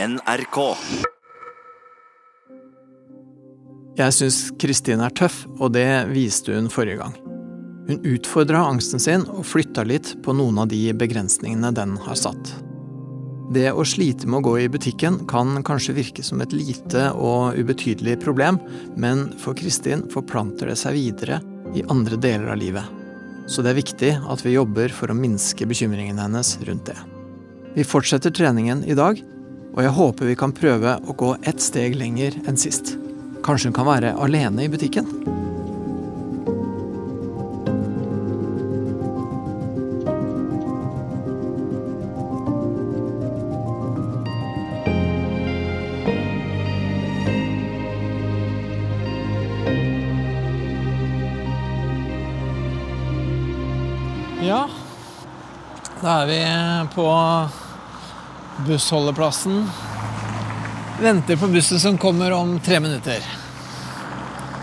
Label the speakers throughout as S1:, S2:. S1: NRK.
S2: Jeg syns Kristin er tøff, og det viste hun forrige gang. Hun utfordra angsten sin og flytta litt på noen av de begrensningene den har satt. Det å slite med å gå i butikken kan kanskje virke som et lite og ubetydelig problem, men for Kristin forplanter det seg videre i andre deler av livet. Så det er viktig at vi jobber for å minske bekymringen hennes rundt det. Vi fortsetter treningen i dag, og jeg håper vi kan prøve å gå ett steg lenger enn sist. Kanskje hun kan være alene i butikken? Ja, da er vi på bussholdeplassen. Venter på bussen som kommer om tre minutter.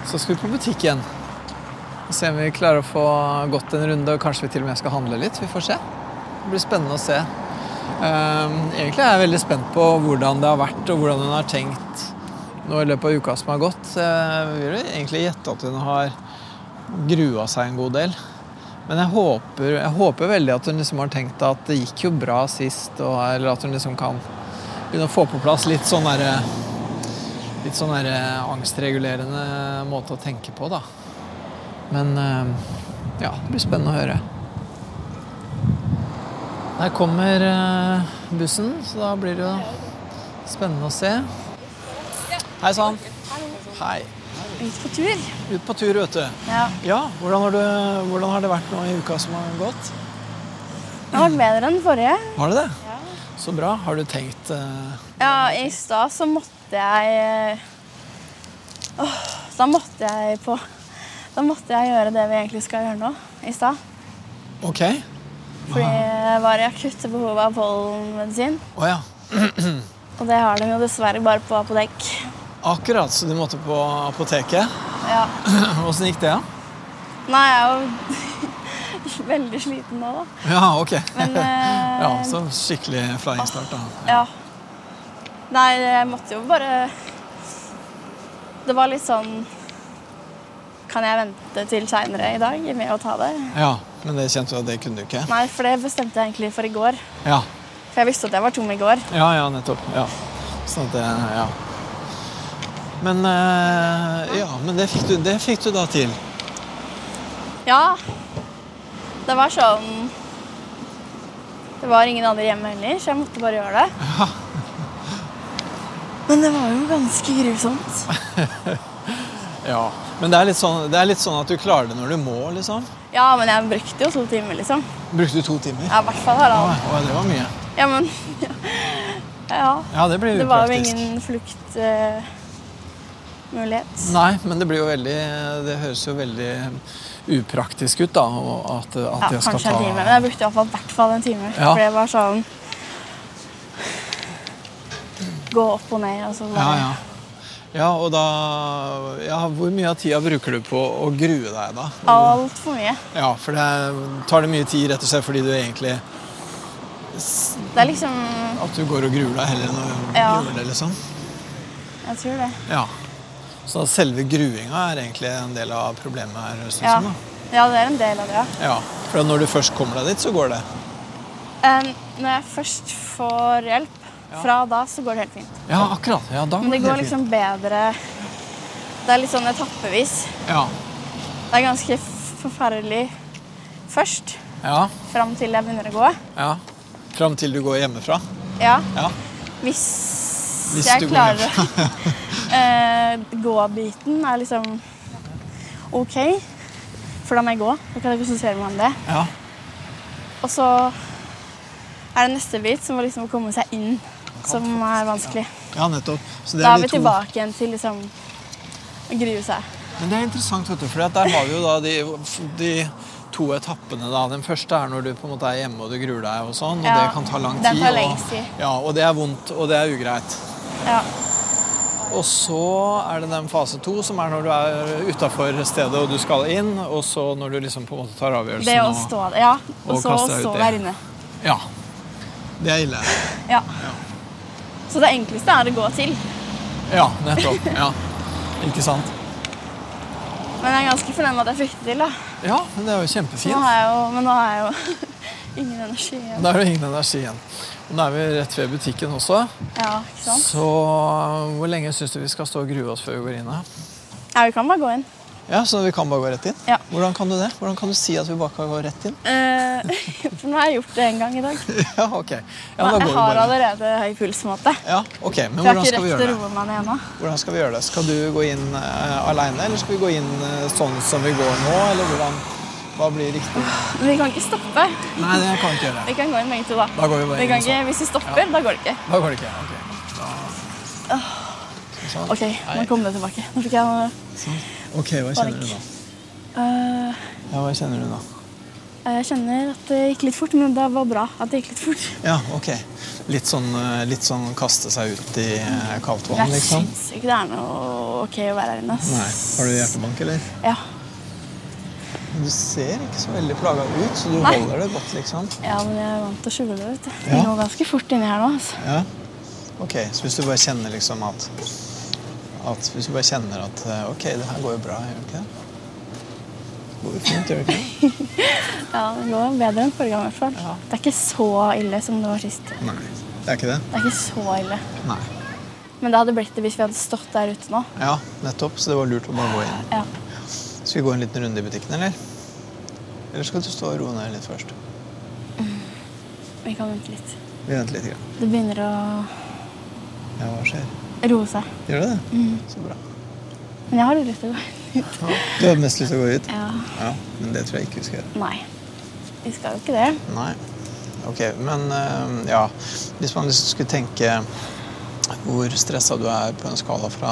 S2: Så skal vi på butikk igjen. Og se om vi klarer å få gått en runde, og kanskje vi til og med skal handle litt. Vi får se. Det blir spennende å se. Ehm, Egentlig er jeg veldig spent på hvordan det har vært, og hvordan hun har tenkt nå i løpet av uka som har gått. Jeg vil egentlig gjette at hun har grua seg en god del. Men jeg håper, jeg håper veldig at hun liksom har tenkt at det gikk jo bra sist, og, eller at hun liksom kan begynne å få på plass litt sånn derre Litt sånn derre angstregulerende måte å tenke på, da. Men eh, ja, det blir spennende å høre. Der kommer eh, bussen, så da blir det jo spennende å se. Hei sann. Hei.
S3: Ut på tur.
S2: Ut på tur, vet du.
S3: Ja.
S2: Ja, hvordan har, du, hvordan har det vært nå i uka som har gått?
S3: Den har vært bedre enn den forrige.
S2: Har det det? Så bra. Har du tenkt eh,
S3: Ja, I stad så måtte jeg eh, åh, Da måtte jeg på Da måtte jeg gjøre det vi egentlig skal gjøre nå i stad.
S2: OK?
S3: Fordi jeg var i akutt behov av pollenmedisin.
S2: Å ja.
S3: Og det har de jo dessverre bare på apotek.
S2: Akkurat, så du måtte på apoteket.
S3: Ja.
S2: Åssen gikk det, da?
S3: Nå er jeg jo veldig sliten nå, da.
S2: Ja, OK.
S3: Men eh,
S2: Ja, så skikkelig flying start, da.
S3: Ja. Nei, jeg måtte jo bare Det var litt sånn Kan jeg vente til seinere i dag med å ta det?
S2: Ja, men det kjente du at det kunne du ikke?
S3: Nei, for det bestemte jeg egentlig for i går.
S2: Ja.
S3: For jeg visste at jeg var tom i går.
S2: Ja, ja, nettopp. Ja. Sånn at det Ja. Men eh, Ja, men det fikk du, det fikk du da til.
S3: Ja. Det var sånn Det var ingen andre hjemme heller, så jeg måtte bare gjøre det. Men det var jo ganske grusomt.
S2: Ja. Men det er litt sånn, det er litt sånn at du klarer det når du må, liksom.
S3: Ja, men jeg brukte jo to timer, liksom.
S2: Brukte du to timer?
S3: Ja, i hvert fall halvannen.
S2: Oi, det var mye.
S3: Ja, men Ja.
S2: Ja, det blir
S3: Det var jo
S2: upraktisk.
S3: ingen fluktmulighet. mulighet.
S2: Nei, men det blir jo veldig Det høres jo veldig upraktisk ut, da. og At, at
S3: ja,
S2: jeg skal
S3: kanskje
S2: ta
S3: en time. Men jeg brukte i hvert fall- hvert fall en time.
S2: Ja.
S3: For det var sånn Gå opp og ned, og så
S2: Ja,
S3: bare
S2: ja. Ja, og da ja, Hvor mye av tida bruker du på å grue deg, da?
S3: Altfor mye.
S2: Ja, for det er, tar det mye tid rett og slett fordi du egentlig
S3: Det er liksom
S2: At du går og gruer deg heller enn å
S3: Ja.
S2: gjøre det, liksom.
S3: Jeg tror det.
S2: Ja. Så selve gruinga er egentlig en del av problemet her, høres det sånn,
S3: Ja,
S2: ut som.
S3: ja det er en del av det, ja.
S2: da. Ja. For når du først kommer deg dit, så går det.
S3: Em, når jeg først får hjelp fra da, så går det helt fint.
S2: Ja, akkurat. Ja, da
S3: Men det
S2: helt
S3: går
S2: fint.
S3: liksom bedre Det er litt sånn etappevis.
S2: Ja.
S3: Det er ganske f- forferdelig først,
S2: Ja.
S3: fram til jeg begynner å gå.
S2: ja. Fram til du går hjemmefra.
S3: Ja.
S2: Ja.
S3: Hvis,
S2: Hvis du
S3: jeg
S2: går
S3: klarer
S2: hjemmefra.
S3: eh, Gåbiten er liksom OK, for da må jeg gå. Da kan jeg konsentrere meg om det.
S2: Ja.
S3: Og så er det neste bit, som var liksom å komme seg inn, som er vanskelig.
S2: Ja, nettopp. Så det er
S3: Da er
S2: de
S3: vi
S2: to.
S3: tilbake igjen til liksom å grue seg.
S2: Men det er interessant, vet du, for der har vi jo da de, de to etappene. da. Den første er når du på en måte er hjemme og du gruer deg, og sånn, og
S3: Ja,
S2: det kan ta lang tid.
S3: den tar
S2: og-
S3: lengst tid.
S2: Ja, og det er vondt, og det er ugreit.
S3: Ja.
S2: Og så er det den fase to, som er når du er utafor stedet og du skal inn, og så når du liksom på en måte tar avgjørelsen.
S3: Det å
S2: og-
S3: stå der. Ja. Og
S2: og
S3: så å
S2: kaste deg
S3: stå
S2: uti.
S3: der inne.
S2: Ja. Det er ille.
S3: Ja. Så det enkleste er å gå til.
S2: Ja, nettopp. Ja. Ikke sant?
S3: Men jeg er ganske fornøyd med at jeg fikk det til. da.
S2: Ja, men det er jo
S3: Så Nå
S2: kjempefint.
S3: har jeg jo, men nå har jeg jo ingen energi igjen.
S2: Da er det ingen energi igjen. Og nå er vi rett ved butikken også.
S3: Ja, ikke sant?
S2: Så øh, hvor lenge syns du vi skal stå og grue oss før vi går inn? da?
S3: Ja, vi kan bare gå inn.
S2: Ja, Så vi kan bare gå rett inn?
S3: Ja.
S2: Hvordan kan du det? Hvordan kan du si at vi bare kan gå rett inn?
S3: Eh, for nå har jeg gjort det en gang i dag.
S2: Ja, ok. Ja, da går vi
S3: Men jeg har
S2: bare inn.
S3: allerede høy puls. på en måte.
S2: Ja, ok. Men
S3: For jeg har
S2: hvordan
S3: ikke
S2: skal vi
S3: rett
S2: gjøre
S3: til
S2: det?
S3: å roe meg ned ennå.
S2: Hvordan skal vi gjøre det? Skal du gå inn uh, aleine, eller skal vi gå inn eh, sånn som vi går nå? Eller hvordan, hva blir riktig?
S3: Men vi kan ikke stoppe.
S2: Nei, det kan vi ikke gjøre.
S3: Vi kan gå inn begge to, da.
S2: Da går vi bare
S3: Vi
S2: inn
S3: kan
S2: sånn.
S3: ikke, hvis vi stopper, da går det ikke.
S2: Da går det ikke. Ok. Da... Sånn.
S3: Ok, nå kom det tilbake. Nå fikk jeg noe
S2: ok, hva kjenner du nå?
S3: Eh,
S2: Ja, hva kjenner du nå?
S3: Jeg kjenner at det gikk litt fort, men det var bra at det gikk litt fort.
S2: Ja, ok. Litt sånn, eh, litt sånn kaste seg ut i eh, kaldt vann,
S3: Jeg
S2: liksom?
S3: syns ikke det er noe ok å være her inne. ass.
S2: Nei. Har du hjertebank, eller?
S3: Ja.
S2: Du ser ikke så veldig plaga ut, så du
S3: Nei.
S2: holder det godt, liksom.
S3: ja, men jeg er vant til å skjule det. vet du. Det
S2: Ja.
S3: går ganske fort inni her nå. altså.
S2: Ja. Ok, så hvis du bare kjenner liksom at, at Hvis du bare kjenner at eh, ok, det her går jo bra, gjør det ikke det? Det går jo fint, gjør det ikke det?
S3: Ja, Det går bedre enn forrige gang i hvert fall.
S2: Ja.
S3: Det er ikke så ille som det var sist.
S2: Nei. Det er ikke det?
S3: Det er ikke så ille.
S2: Nei.
S3: Men det hadde blitt det hvis vi hadde stått der ute nå.
S2: Ja, nettopp, så det var lurt å bare gå inn.
S3: Ja.
S2: Skal vi gå en liten runde i butikken, eller? Eller skal du stå og roe ned litt først?
S3: Vi kan vente litt.
S2: Vi venter litt. Grann.
S3: Det begynner å
S2: Ja, hva skjer?
S3: roe seg.
S2: Gjør det det? Så bra.
S3: Men jeg har litt lyst til å gå.
S2: Du har mest lyst til å gå ut?
S3: Ja.
S2: Ja, men det tror jeg ikke vi skal gjøre.
S3: Nei. Vi skal jo ikke det.
S2: Nei. Ok, men eh, ja Hvis man liksom skulle tenke hvor stressa du er på en skala fra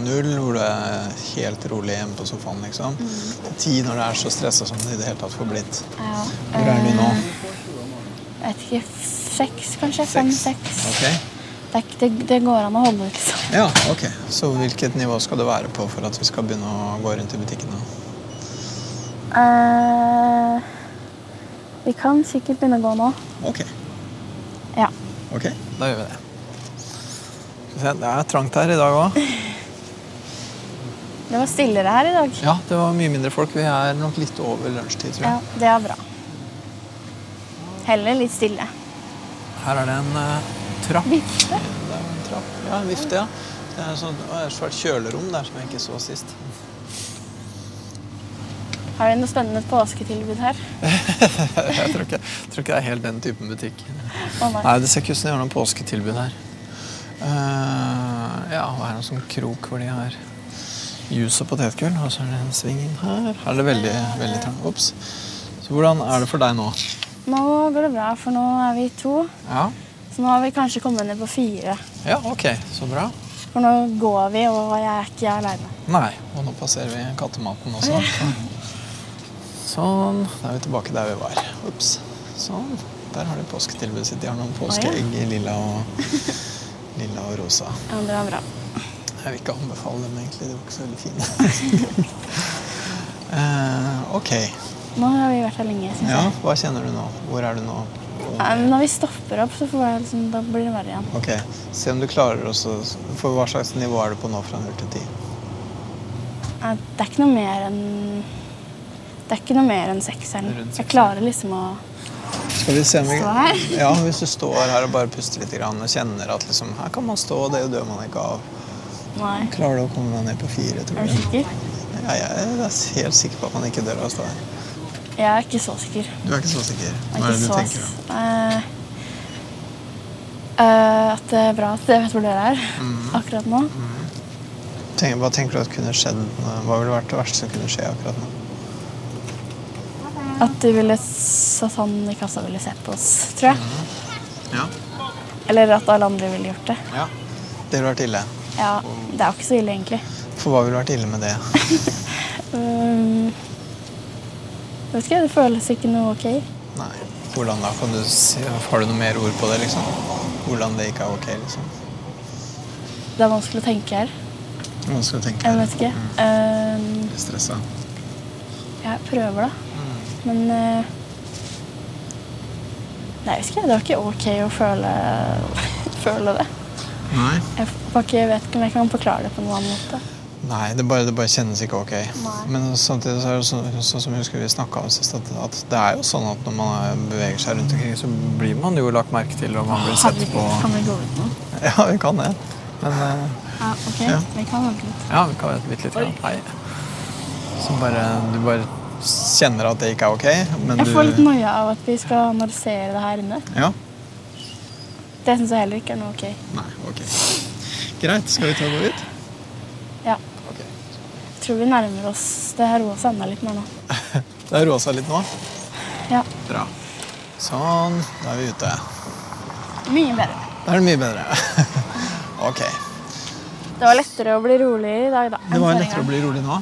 S2: null, hvor du er helt rolig hjemme på sofaen, liksom, til ti når du er så stressa som du i det hele tatt får blitt.
S3: Ja.
S2: Hvor er du nå?
S3: Eh, Jeg vet ikke. Seks, kanskje? Fem-seks.
S2: Ok.
S3: Det, er ikke- det, det går an å holde ut, liksom.
S2: Ja, ok. Så hvilket nivå skal det være på for at vi skal begynne å gå rundt i butikkene?
S3: Eh, vi kan sikkert begynne å gå nå.
S2: Ok.
S3: Ja.
S2: Ok, da gjør vi det. Skal vi se, Det er trangt her i dag òg.
S3: Det var stillere her i dag.
S2: Ja, det var mye mindre folk. Vi er nok litt over lunsjtid, tror jeg.
S3: Ja, det er bra. Heller litt stille.
S2: Her er det en eh, trapp.
S3: Vifte.
S2: Det er jo en trapp. Ja, en vifte, ja. Det er et sånt- å, et svært kjølerom der som jeg ikke så sist.
S3: Har de noe spennende påsketilbud her?
S2: jeg tror ikke, tror ikke det er helt den typen butikk.
S3: Å nei.
S2: Nei, det ser ikke ut som de har noe påsketilbud her. Eh, ja, og her er det en sånn krok hvor de har juice og potetgull, og så er det en sving inn her. Her er det veldig, veldig trangt. Ops. Så hvordan er det for deg nå?
S3: Nå går det bra, for nå er vi to.
S2: Ja.
S3: Så nå har vi kanskje kommet ned på fire.
S2: Ja, ok. Så bra.
S3: For nå går vi, og jeg er ikke aleine.
S2: Nei, og nå passerer vi kattematen også. Sånn. Da er vi tilbake der vi var. Ops. Sånn. Der har de påsketilbudet sitt. De har noen påskeegg i lilla og, lilla og rosa.
S3: Ja, det var bra.
S2: Jeg vil ikke anbefale dem, egentlig. De var ikke så veldig fine. Eh, ok.
S3: Nå har vi vært her lenge, syns
S2: Ja,
S3: jeg.
S2: hva kjenner du nå? Hvor er du nå?
S3: Nei, men Når vi stopper opp, så får jeg liksom, da blir det verre igjen.
S2: Ok, Se om du klarer også For hva slags nivå er du på nå fra 0 til 10?
S3: Nei, Det er ikke noe mer enn Det er ikke noe mer enn sekseren.
S2: Rundt
S3: Jeg
S2: sekseren.
S3: klarer liksom å
S2: Skal vi se om vi...
S3: Stå her?
S2: Ja, hvis du står her og bare puster litt grann, og kjenner at liksom, her kan man stå, det dør man ikke av.
S3: Nei.
S2: Klarer du å komme deg ned på fire, tror
S3: Er du
S2: du?
S3: sikker?
S2: Ja, jeg er helt sikker på at man ikke dør av å stå her.
S3: Jeg er ikke så sikker.
S2: Du er ikke så sikker?
S3: Jeg
S2: Hva er
S3: ikke
S2: det du
S3: så
S2: tenker da?
S3: s- Nei. Eh, at det er bra at jeg vet hvor dere er
S2: Mm.
S3: akkurat nå.
S2: Tenk, hva tenker du at kunne skjedd? nå? Hva ville vært det verste som kunne skje akkurat nå?
S3: At, du ville, s- at han i kassa ville sett oss, tror jeg.
S2: Ja.
S3: Eller at alle andre ville gjort det.
S2: ja. Det ville vært ille.
S3: Ja, Det er jo ikke så ille, egentlig.
S2: For hva ville vært ille med det?
S3: Um, jeg vet ikke, Det føles ikke noe ok.
S2: Nei. Hvordan da? Kan du si, har du noe mer ord på det, liksom? Hvordan det ikke er ok, liksom?
S3: Det er vanskelig å tenke her.
S2: Hva skal du tenke? Mm.
S3: Jeg vet ikke. Um,
S2: Blir stressa.
S3: jeg prøver, da. Men uh, Nei, jeg vet ikke. Det var ikke ok å føle, føle det.
S2: Nei.
S3: Jeg f- bare ikke vet ikke om jeg kan forklare det på noen annen måte.
S2: Nei, det bare, det bare kjennes ikke ok.
S3: Nei.
S2: Men samtidig så er det sånn, sånn som jeg husker vi snakka om sist, at, at det er jo sånn at når man er- beveger seg rundt omkring, så blir man jo lagt merke til, og man blir sett på
S3: kan vi gå ut nå?
S2: Ja, vi kan det. Men eh,
S3: Ja, ok.
S2: Ja.
S3: Vi kan vente litt.
S2: ja, vi kan vente litt. litt grann. Hei. Så bare, du bare kjenner at det ikke er ok, men
S3: Jeg
S2: du
S3: får litt noia av at vi skal analysere det her inne.
S2: Ja?
S3: Det syns jeg heller ikke er noe ok.
S2: Nei, ok. Greit, skal vi ta og gå ut?
S3: Ja.
S2: Ok.
S3: Jeg tror vi nærmer oss Det har roa seg enda litt mer nå.
S2: Det har roa seg litt nå.
S3: Ja.
S2: Bra. Sånn, da er vi ute.
S3: Mye bedre.
S2: Da er det mye bedre. ok.
S3: Det var lettere å bli rolig i dag, da. enn
S2: Det var
S3: forrige
S2: lettere å
S3: gang.
S2: bli rolig nå.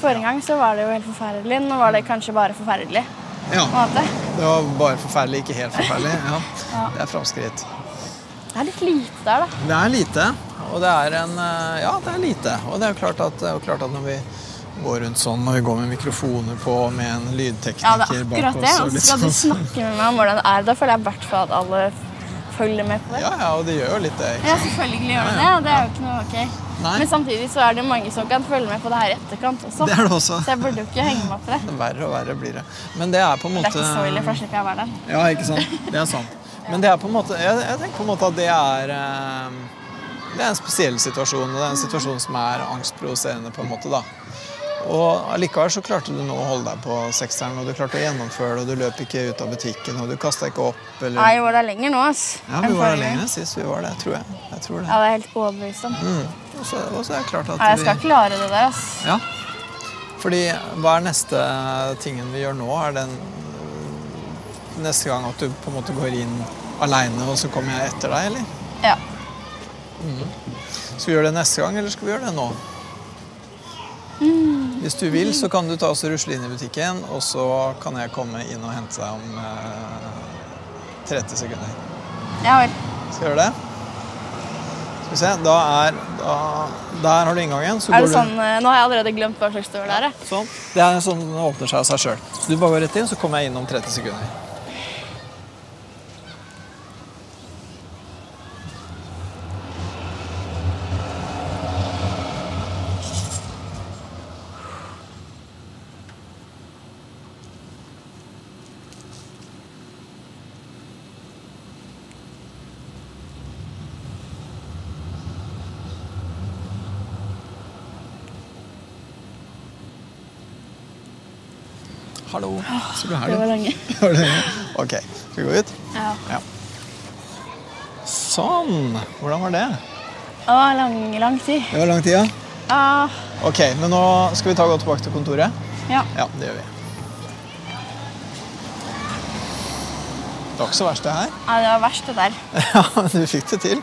S3: Forrige gang så var det jo helt forferdelig. Nå var det kanskje bare forferdelig.
S2: Ja.
S3: På en måte.
S2: Det var bare forferdelig, ikke helt forferdelig. Ja. Det er framskritt.
S3: Det er litt lite der, da.
S2: Det er lite, og det er en eh, Ja, det er lite. Og det er jo klart at, det er jo klart at når vi går rundt sånn, når vi går med mikrofoner på med en
S3: Ja, det
S2: lydtekniker
S3: er
S2: bak
S3: akkurat det.
S2: oss
S3: altså,
S2: og
S3: Og så
S2: litt
S3: skal du
S2: sånn
S3: snakke med meg om hvordan det er. Da føler jeg i hvert fall at alle følger med på det.
S2: Ja, ja, og det gjør jo litt det. ikke
S3: Ja, selvfølgelig gjør
S2: Ja,
S3: det det. og Det er jo ikke noe ok.
S2: Nei.
S3: Men samtidig så er det jo mange som kan følge med på det her i etterkant også.
S2: Det er det også.
S3: Så jeg burde jo ikke henge meg opp i det.
S2: sant? Verre og verre blir det. Men det er på en
S3: Det er
S2: måte
S3: ikke så ille, for da slipper jeg å være der.
S2: Ja, ikke sant? Det er sant. Men det er på en måte, jeg, jeg tenker på en måte at det er eh, Det er en spesiell situasjon, og det er en situasjon som er angstprovoserende, på en måte, da. Og allikevel så klarte du nå å holde deg på sekseren, og du klarte å gjennomføre det, og du løp ikke ut av butikken, og du kasta ikke opp, eller
S3: Nei, vi var der lenger nå, ass.
S2: Ja,
S3: enn
S2: vi var der
S3: forrige gang.
S2: lenger sist vi var det, tror jeg. Jeg tror
S3: Ja,
S2: det.
S3: det er jeg helt overbevist om.
S2: Mm. Og så og så er det klart at
S3: Nei, jeg skal
S2: vi
S3: klare det der, ass.
S2: Ja. Fordi hva er neste tingen vi gjør nå? Er den neste gang at du på en måte går inn aleine, og så kommer jeg etter deg, eller?
S3: Ja.
S2: Skal vi gjøre det neste gang, eller skal vi gjøre det nå?
S3: Mm.
S2: Hvis du vil, så kan du ta oss og rusle inn i butikken, og så kan jeg komme inn og hente deg om eh, 30 sekunder.
S3: Ja vel.
S2: Skal jeg gjøre det? Skal vi se, da er da, Der har du inngangen. Så
S3: Er
S2: går
S3: det
S2: du
S3: sånn, eh, Nå har jeg allerede glemt hva slags dør det er. jeg.
S2: Sånn. Det er sånn den åpner seg av seg sjøl. Så du bare går rett inn, så kommer jeg inn om 30 sekunder. Hallo. Så du er
S3: Det var
S2: her,
S3: lenge.
S2: du. Var det? Ok, skal vi gå ut?
S3: Ja.
S2: Ja. Sånn. Hvordan var det?
S3: Å, lang, lang tid.
S2: Det var lang tid, ja.
S3: Ah,
S2: Ok, men nå skal vi ta godt tilbake til kontoret.
S3: ja.
S2: Ja, det gjør vi. Det var ikke så verst, det her.
S3: ja, det var verst, det der.
S2: Ja, men du fikk det til.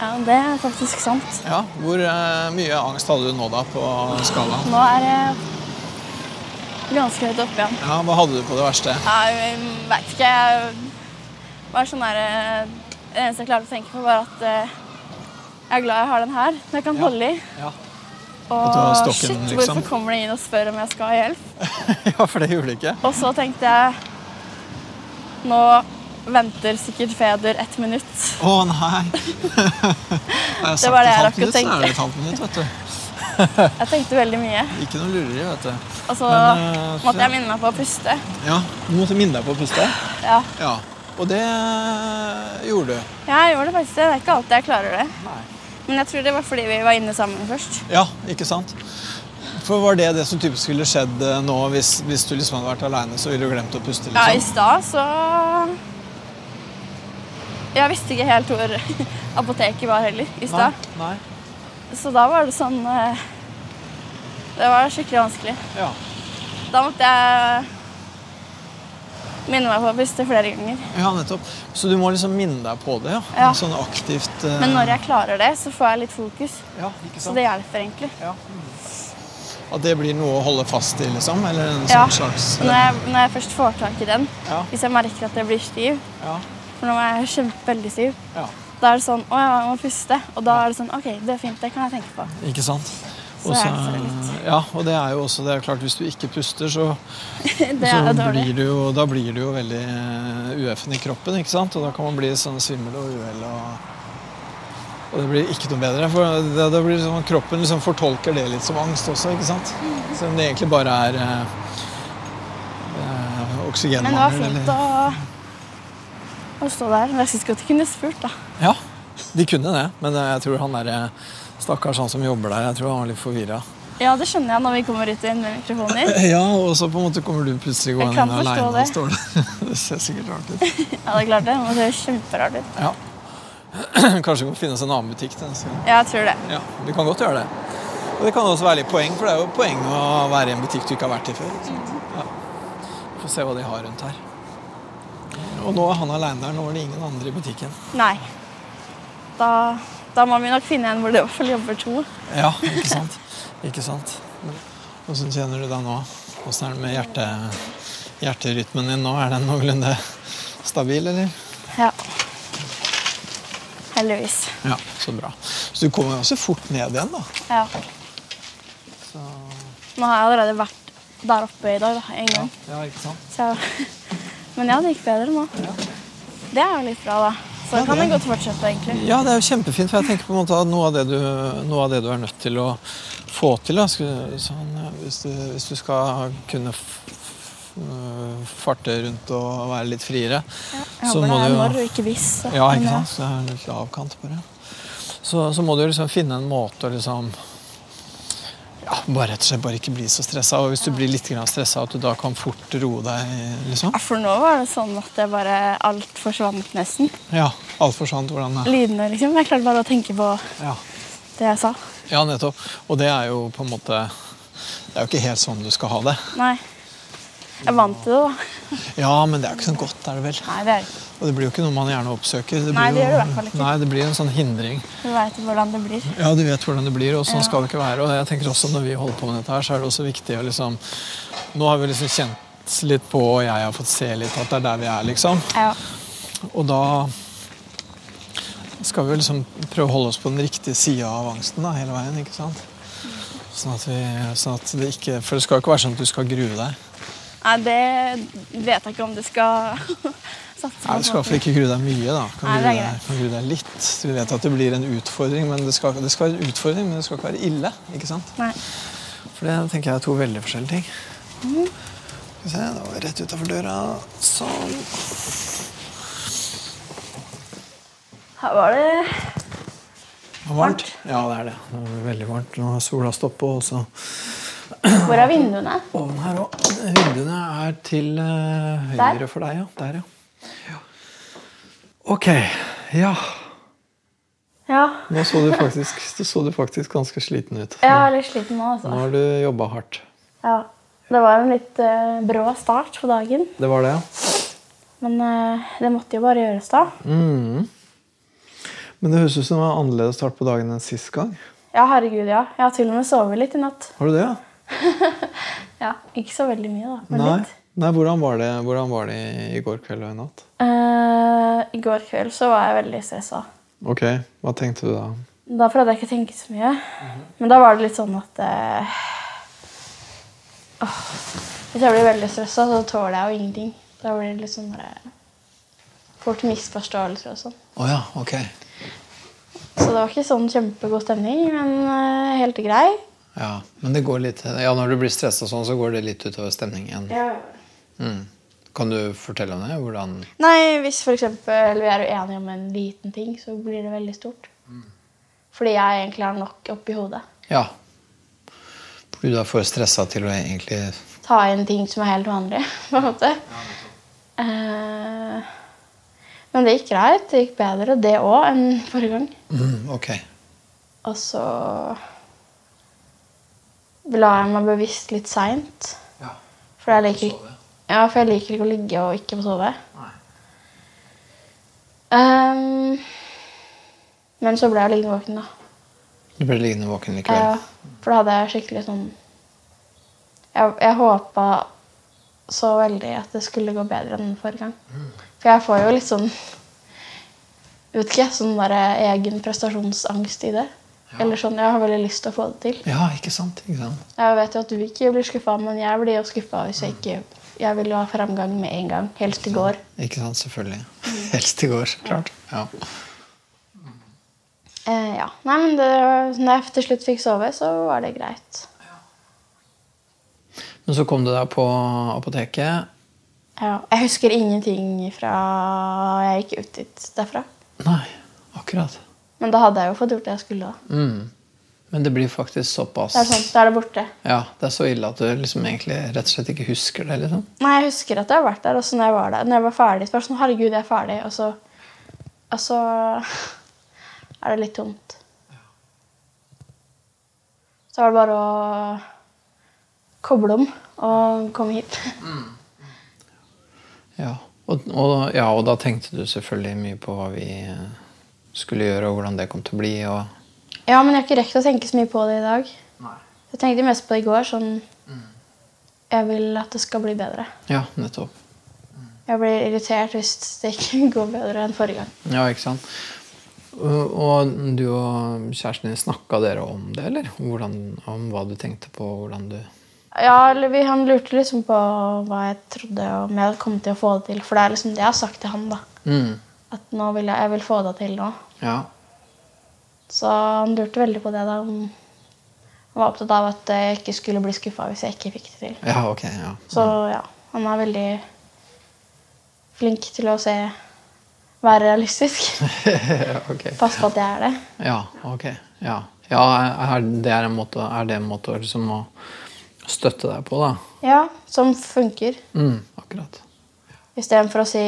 S3: Ja, Det er faktisk sant.
S2: Ja, Hvor eh, mye angst hadde du nå, da, på skalaen?
S3: Nå er jeg ganske høyt oppe igjen.
S2: Ja, Hva hadde du på det verste?
S3: Jeg veit ikke. Jeg var sånn der eh, Det eneste jeg klarte å tenke på, var at eh, jeg er glad jeg har den her, som jeg kan holde i.
S2: Ja. At du har
S3: Og
S2: stokken,
S3: shit,
S2: liksom.
S3: hvorfor kommer de inn og spør om jeg skal ha hjelp?
S2: ja, for det gjorde du ikke.
S3: Og så tenkte jeg Nå venter sikkert Feder ett minutt.
S2: Å nei! Har jeg sagt
S3: var
S2: et
S3: det jeg
S2: halvt minutt, så er
S3: rakk å tenke.
S2: det et halvt minutt, vet du.
S3: Jeg tenkte veldig mye.
S2: Ikke noe lureri, vet du.
S3: Og så
S2: Men, eh,
S3: måtte jeg minne meg på å puste.
S2: Ja, Du måtte minne deg på å puste?
S3: Ja,
S2: Ja. Og det gjorde du.
S3: jeg gjorde det faktisk. Det er ikke alltid jeg klarer det.
S2: Nei.
S3: Men jeg tror det var fordi vi var inne sammen først.
S2: Ja, ikke sant? For var det det som typisk ville skjedd eh, nå hvis, hvis du liksom hadde vært aleine, så ville du glemt å puste,
S3: Ja, i
S2: liksom?
S3: stad så Jeg visste ikke helt hvor apoteket var heller i stad.
S2: Nei.
S3: Så da var det sånn eh, Det var skikkelig vanskelig.
S2: nei. Ja.
S3: Da måtte jeg minne meg på å puste flere ganger.
S2: ja, nettopp. Så du må liksom minne deg på det? ja?
S3: Ja.
S2: Sånn aktivt eh,
S3: Men når jeg klarer det, så får jeg litt fokus.
S2: Ja, ikke
S3: Så
S2: sant?
S3: det hjelper egentlig.
S2: Ja. At det blir noe å holde fast i, liksom? Eller en
S3: Ja.
S2: sånn slags eh,
S3: Når jeg, når jeg først får tak i den,
S2: Ja.
S3: hvis jeg merker at jeg blir stiv
S2: Ja.
S3: For nå er jeg kjempe, veldig stiv.
S2: ja.
S3: Da er det sånn Å ja, jeg må puste. Og da er det sånn OK, det er fint. Det kan jeg tenke på.
S2: Ikke sant?
S3: Så
S2: Og så-
S3: hjelper det litt.
S2: ja, og det er jo også det er klart hvis du ikke puster, så,
S3: Det er
S2: så
S3: jo dårlig.
S2: blir du jo, da blir du jo veldig eh, ueffen i kroppen. ikke sant? Og da kan man bli sånn svimmel og uhell og Og det blir ikke noe bedre. For da, da blir det sånn at kroppen liksom fortolker det litt som angst også. ikke sant? Selv om det egentlig bare er eh, eh,
S3: Men det var
S2: oksygenmangel.
S3: fint å, å stå der. Men jeg syns godt de kunne spurt, da.
S2: Ja, de kunne det. Men eh, jeg tror han der eh, stakkars han som jobber der, jeg tror han var litt forvirra.
S3: Ja, det skjønner jeg når vi kommer ut igjen med mikrofoner.
S2: Ja, og så på en måte kommer du plutselig
S3: Jeg
S2: gående
S3: kan
S2: inn
S3: forstå
S2: aleine og
S3: det.
S2: står der. Det ser sikkert rart ut.
S3: Ja, det er klart det. Det ser jo kjemperart ut.
S2: Ja. Kanskje vi må finne oss en annen butikk til neste gang.
S3: Ja, jeg tror det.
S2: Ja, vi kan godt gjøre det. Og det kan også være litt poeng, for det er jo poeng å være i en butikk du ikke har vært i før. Ikke sant?
S3: Mm.
S2: Ja. Vi får se hva de har rundt her. Og nå er han aleine der. Nå var det ingen andre i butikken.
S3: Nei. Da, da må vi nok finne en hvor det i hvert fall jobber to.
S2: Ja, ikke sant? Ikke sant? Åssen kjenner du deg nå? Åssen er det med hjerte, hjerterytmen din nå? Er den noenlunde stabil, eller?
S3: Ja. Heldigvis.
S2: Ja, så bra. Så du kommer jo også fort ned igjen, da.
S3: Ja.
S2: Så,
S3: Nå har jeg allerede vært der oppe i dag, da, en
S2: ja,
S3: gang.
S2: ja, ikke sant?
S3: Så, men ja, det gikk bedre nå. Det er jo litt bra, da. Så
S2: Ja,
S3: kan
S2: det
S3: den
S2: er-
S3: godt fortsette, egentlig.
S2: Ja, det er jo kjempefint. For jeg tenker på en måte at noe av det du, noe av det du er nødt til å få til da, skulle- sånn, eh, hvis, du, hvis du skal kunne f f øh, farte rundt og være litt friere,
S3: Jeg
S2: så
S3: håper det
S2: må
S3: er
S2: du jo
S3: når og ikke hvis. så-
S2: Ja, ikke
S3: men
S2: sant? Så jeg er litt avkant på det. Så, så må du jo liksom finne en måte å liksom ja, bare rett og slett bare ikke bli så stressa. Og hvis du blir litt stressa, at du da kan fort roe deg, liksom.
S3: Ja, For nå var det sånn at det bare alt forsvant nesten.
S2: Ja, altfor sant hvordan det er.
S3: Lydene, liksom. Jeg klarte bare å tenke på
S2: Ja.
S3: det jeg sa.
S2: ja, nettopp. Og det er jo på en måte Det er jo ikke helt sånn du skal ha det.
S3: Nei. Jeg vant til det, da.
S2: Ja, men det er jo ikke så godt, er det vel?
S3: Nei, det er det ikke.
S2: Og det blir jo ikke noe man gjerne oppsøker.
S3: Nei,
S2: blir
S3: det
S2: jo-
S3: gjør det i hvert fall ikke.
S2: Nei, det blir en sånn hindring.
S3: Du veit hvordan det blir.
S2: Ja, du vet hvordan det blir, og sånn skal det ikke være. Og jeg tenker også når vi holder på med dette her, så er det også viktig å liksom Nå har vi liksom kjent litt på, og jeg har fått se litt at det er der vi er, liksom.
S3: Ja.
S2: Og da skal vi jo liksom prøve å holde oss på den riktige sida av angsten da, hele veien, ikke sant? Sånn at, vi, sånn at det ikke For det skal jo ikke være sånn at du skal grue deg.
S3: Nei, det vet jeg ikke om du skal satse
S2: Nei, Du skal i hvert fall ikke grue deg mye, da. Kan
S3: Nei, det
S2: grue
S3: er
S2: deg, kan grue deg litt. Du vet at det blir en utfordring, men det skal, det skal være en utfordring, men det skal ikke være ille. ikke sant?
S3: Nei.
S2: For det tenker jeg er to veldig forskjellige ting.
S3: Mm.
S2: Skal vi se, da var vi rett utafor døra. Sånn.
S3: Her var det
S2: Det var varmt. Ja, det er det. Det var veldig varmt. Nå har sola stoppet, og så
S3: Hvor er vinduene?
S2: ovnen her òg. Vinduene er til eh, høyre
S3: Der?
S2: for deg, ja. Der, ja. ja. Ok. Ja.
S3: Ja.
S2: Nå så du faktisk, så så du faktisk ganske sliten ut.
S3: Jeg er litt sliten nå, altså.
S2: Nå har du jobba hardt.
S3: Ja. Det var en litt eh, brå start på dagen,
S2: Det var det, ja.
S3: men eh, det måtte jo bare gjøres da.
S2: Mm. Men det høres ut som det var en annerledes start på dagen enn sist gang.
S3: Ja, herregud, ja. Jeg har til og med sovet litt i natt.
S2: Har du det, ja?
S3: Ja, Ikke så veldig mye, da. Men
S2: Nei.
S3: litt.
S2: Nei, hvordan var det, hvordan var det i- i går kveld og i natt?
S3: Eh, I går kveld så var jeg veldig stressa.
S2: Ok, hva tenkte du da?
S3: Da prøvde jeg ikke å tenke så mye. Men da var det litt sånn at eh, åh, Hvis jeg blir veldig stressa, så tåler jeg jo ingenting. Da blir det litt sånn bare Fort misforståelser og sånn.
S2: Å ja, ok.
S3: Så det var ikke sånn kjempegod stemning, men eh, helt grei.
S2: Ja, men det går litt, ja, når du blir stressa sånn, så går det litt utover stemningen. Mm. Kan du fortelle om det? Hvordan
S3: Nei, hvis for eksempel vi er uenige om en liten ting, så blir det veldig stort. Fordi jeg egentlig har nok oppi hodet.
S2: Ja. Blir du da for stressa til å egentlig
S3: ta inn ting som er helt vanlig, på en måte. Eh, men det gikk greit. Det gikk bedre, det òg, enn forrige gang.
S2: mm, Ok.
S3: Og så la jeg meg bevisst litt seint.
S2: Ja.
S3: For jeg liker, ja, for jeg liker ikke å ligge og ikke få sove.
S2: Nei.
S3: Ehm, men så ble jeg liggende våken, da.
S2: Du ble liggende våken
S3: Ja,
S2: likevel?
S3: for da hadde jeg skikkelig sånn Jeg, jeg håpa så veldig at det skulle gå bedre enn forrige gang. For jeg får jo litt sånn Vet ikke, sånn der egen prestasjonsangst i det. Eller sånn, Jeg har veldig lyst til å få det til.
S2: Ja, ikke sant? Ikke sant?
S3: Jeg vet jo at du ikke blir skuffa, men jeg blir jo skuffa hvis jeg ikke Jeg vil jo ha framgang med en gang. Helst i går. Mm.
S2: Ikke sant, Selvfølgelig. Helst i går, så klart. Ja.
S3: Eh, ja. Nei, men det, når jeg til slutt fikk sove, så var det greit.
S2: Men så kom du deg på apoteket.
S3: Ja. Jeg husker ingenting fra jeg gikk ut dit derfra.
S2: Nei, akkurat.
S3: Men da hadde jeg jo fått gjort det jeg skulle. da.
S2: Mm. Men det blir faktisk såpass
S3: Det er sånn, Da er det borte.
S2: Ja, det er så ille at du liksom egentlig rett og slett ikke husker det. liksom.
S3: Nei, jeg husker at jeg har vært der, og så når jeg var der, når jeg var ferdig, så var det sånn Herregud, jeg er ferdig. Og så, og så er det litt tomt. Så var det bare å koble om og komme hit.
S2: Ja. Og, og, ja, og da tenkte du selvfølgelig mye på hva vi eh, skulle gjøre, og hvordan det kom til å bli. og...
S3: Ja, men jeg har ikke rekt å tenke så mye på det i dag. Jeg tenkte mest på det i går. Sånn Jeg vil at det skal bli bedre.
S2: Ja, nettopp.
S3: Jeg blir irritert hvis det ikke går bedre enn forrige gang.
S2: Ja, ikke sant? Og, og du og kjæresten din, snakka dere om det, eller? Hvordan, om hva du tenkte på, hvordan du
S3: Ja, eller vi, Han lurte liksom på hva jeg trodde om jeg hadde kommet til å få det til. For det er liksom det jeg har sagt til han. da.
S2: mm.
S3: At nå vil jeg, jeg vil få det til nå.
S2: Ja.
S3: Så han lurte veldig på det. da. Han var opptatt av at jeg ikke skulle bli skuffa hvis jeg ikke fikk det til.
S2: ja, ok. ja.
S3: Så ja, han er veldig flink til å se Være realistisk.
S2: ja, ok.
S3: Pass på at jeg er det.
S2: Ja, ok. Ja, ja er, det er, en måte, er det en måte liksom å støtte deg på, da?
S3: Ja, som funker.
S2: Mm, akkurat.
S3: Istedenfor å si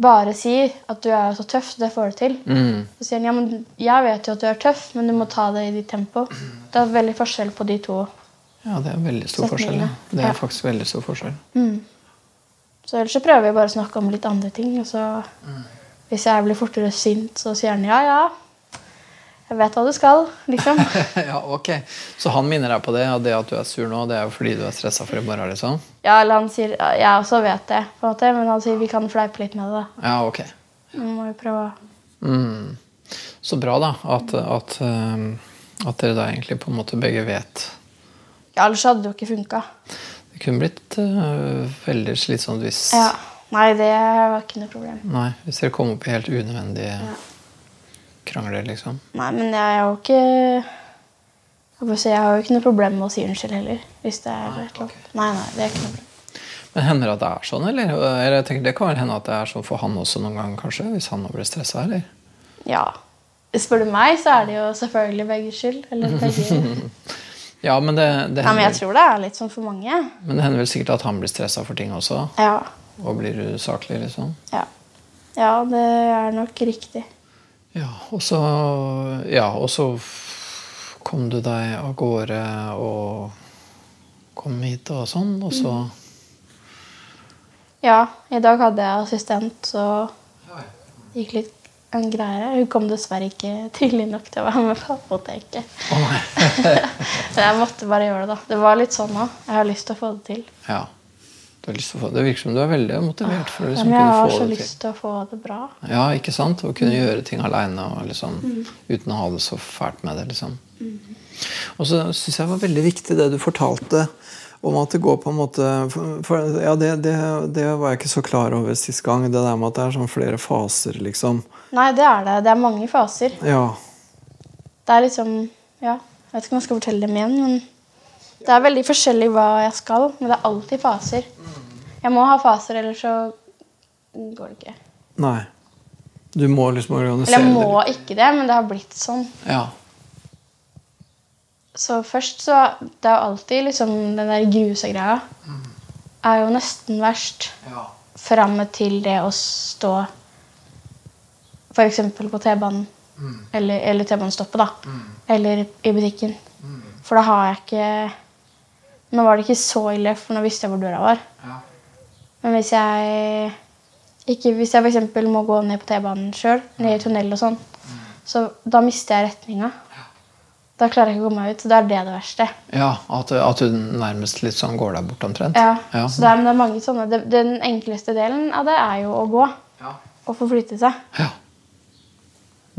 S3: Bare si at du er så tøff, det får du til.
S2: Mm,
S3: Så sier han ja, men jeg vet jo at du er tøff, men du må ta det i ditt tempo. Det er veldig forskjell på de to.
S2: ja, det er veldig stor
S3: Setningene.
S2: forskjell. Ja. Det
S3: Ja.
S2: er faktisk veldig stor forskjell.
S3: Så ellers så prøver vi bare å snakke om litt andre ting. Og så hvis jeg blir fortere sint, så sier han ja, ja. Jeg vet hva du skal, liksom.
S2: ja, ok. Så han minner deg på det, og det at du er sur nå, det er jo fordi du er stressa for i morgen, liksom?
S3: Ja, eller han sier ja, jeg også vet det, på en måte, men han sier vi kan fleipe litt med det. da.
S2: Ja, ok.
S3: Vi må jo prøve å
S2: Mm. Så bra, da, at, at, um, at dere da egentlig på en måte begge vet
S3: Ja, ellers hadde det jo ikke funka.
S2: Det kunne blitt øh, veldig slitsomt hvis
S3: Ja. Nei, det var ikke noe problem.
S2: Nei, hvis dere kom opp i helt unødvendige krangler, liksom.
S3: Nei, men jeg er jo ikke Jeg, får si, jeg har jo ikke noe problem med å si unnskyld heller. Hvis det er et eller annet. Nei, nei, det er ikke noe problem.
S2: Men hender det at det er sånn, eller? eller jeg tenker, det kan vel hende at det er sånn for han også noen gang, kanskje? Hvis han nå blir stressa, eller?
S3: Ja. Spør du meg, så er det jo selvfølgelig begges skyld. Eller begge.
S2: Ja, men det, det,
S3: Nei, men jeg
S2: hender,
S3: tror det er litt sånn for mange.
S2: men det hender vel sikkert at han blir stressa for ting også?
S3: Ja.
S2: Og blir usaklig, liksom?
S3: Ja, ja det er nok riktig.
S2: Ja, og så Ja, og så f- kom du deg av gårde og kom hit og sånn, og så
S3: Mm. Ja, i dag hadde jeg assistent, så det gikk litt en greie. Hun kom dessverre ikke tidlig nok til å være med på apoteket.
S2: Å nei.
S3: Men jeg måtte bare gjøre det, da. Det var litt sånn òg. Jeg har lyst til å få det til.
S2: Ja. Du har lyst til å få, det virker som du er veldig motivert for å
S3: Ja,
S2: liksom
S3: men jeg
S2: kunne
S3: har
S2: få
S3: så
S2: det til.
S3: lyst til å få det bra.
S2: Ja, ikke sant? Å
S3: Mm.
S2: kunne gjøre ting aleine liksom, uten å ha det så fælt med det. liksom.
S3: Mm.
S2: Og så syns jeg var veldig viktig det du fortalte om at det går på en måte for, for, ja, det, det, det var jeg ikke så klar over sist gang. Det der med at det er sånn flere faser, liksom.
S3: Nei, det er det. Det er mange faser.
S2: Ja.
S3: Det er liksom Ja, jeg vet ikke om jeg skal fortelle dem igjen, men det er veldig forskjellig hva jeg skal, men det er alltid faser. Jeg må ha faser, ellers så går det ikke.
S2: Nei. Du må liksom
S3: Eller
S2: organisere
S3: jeg må ikke det, men det har blitt sånn.
S2: det. Ja.
S3: Så først så Det er jo alltid liksom den der grusa greia. Er jo nesten verst.
S2: ja.
S3: Framme til det å stå f.eks. på T-banen. Eller, eller T-banestoppet, da. Eller i butikken. For da har jeg ikke Nå var det ikke så ille, for nå visste jeg hvor døra var.
S2: Ja.
S3: Men hvis jeg ikke, hvis jeg for eksempel må gå ned på T-banen sjøl, ned i tunnel og sånn, så da mister jeg retninga. Da klarer jeg ikke å komme meg ut. Så da er det det verste.
S2: ja at, du- at du nærmest litt sånn går deg bort omtrent?
S3: Ja.
S2: Ja.
S3: Så det er, men det er mange sånne. Det, den enkleste delen av det er jo å gå
S2: Ja.
S3: og forflytte seg.
S2: Ja.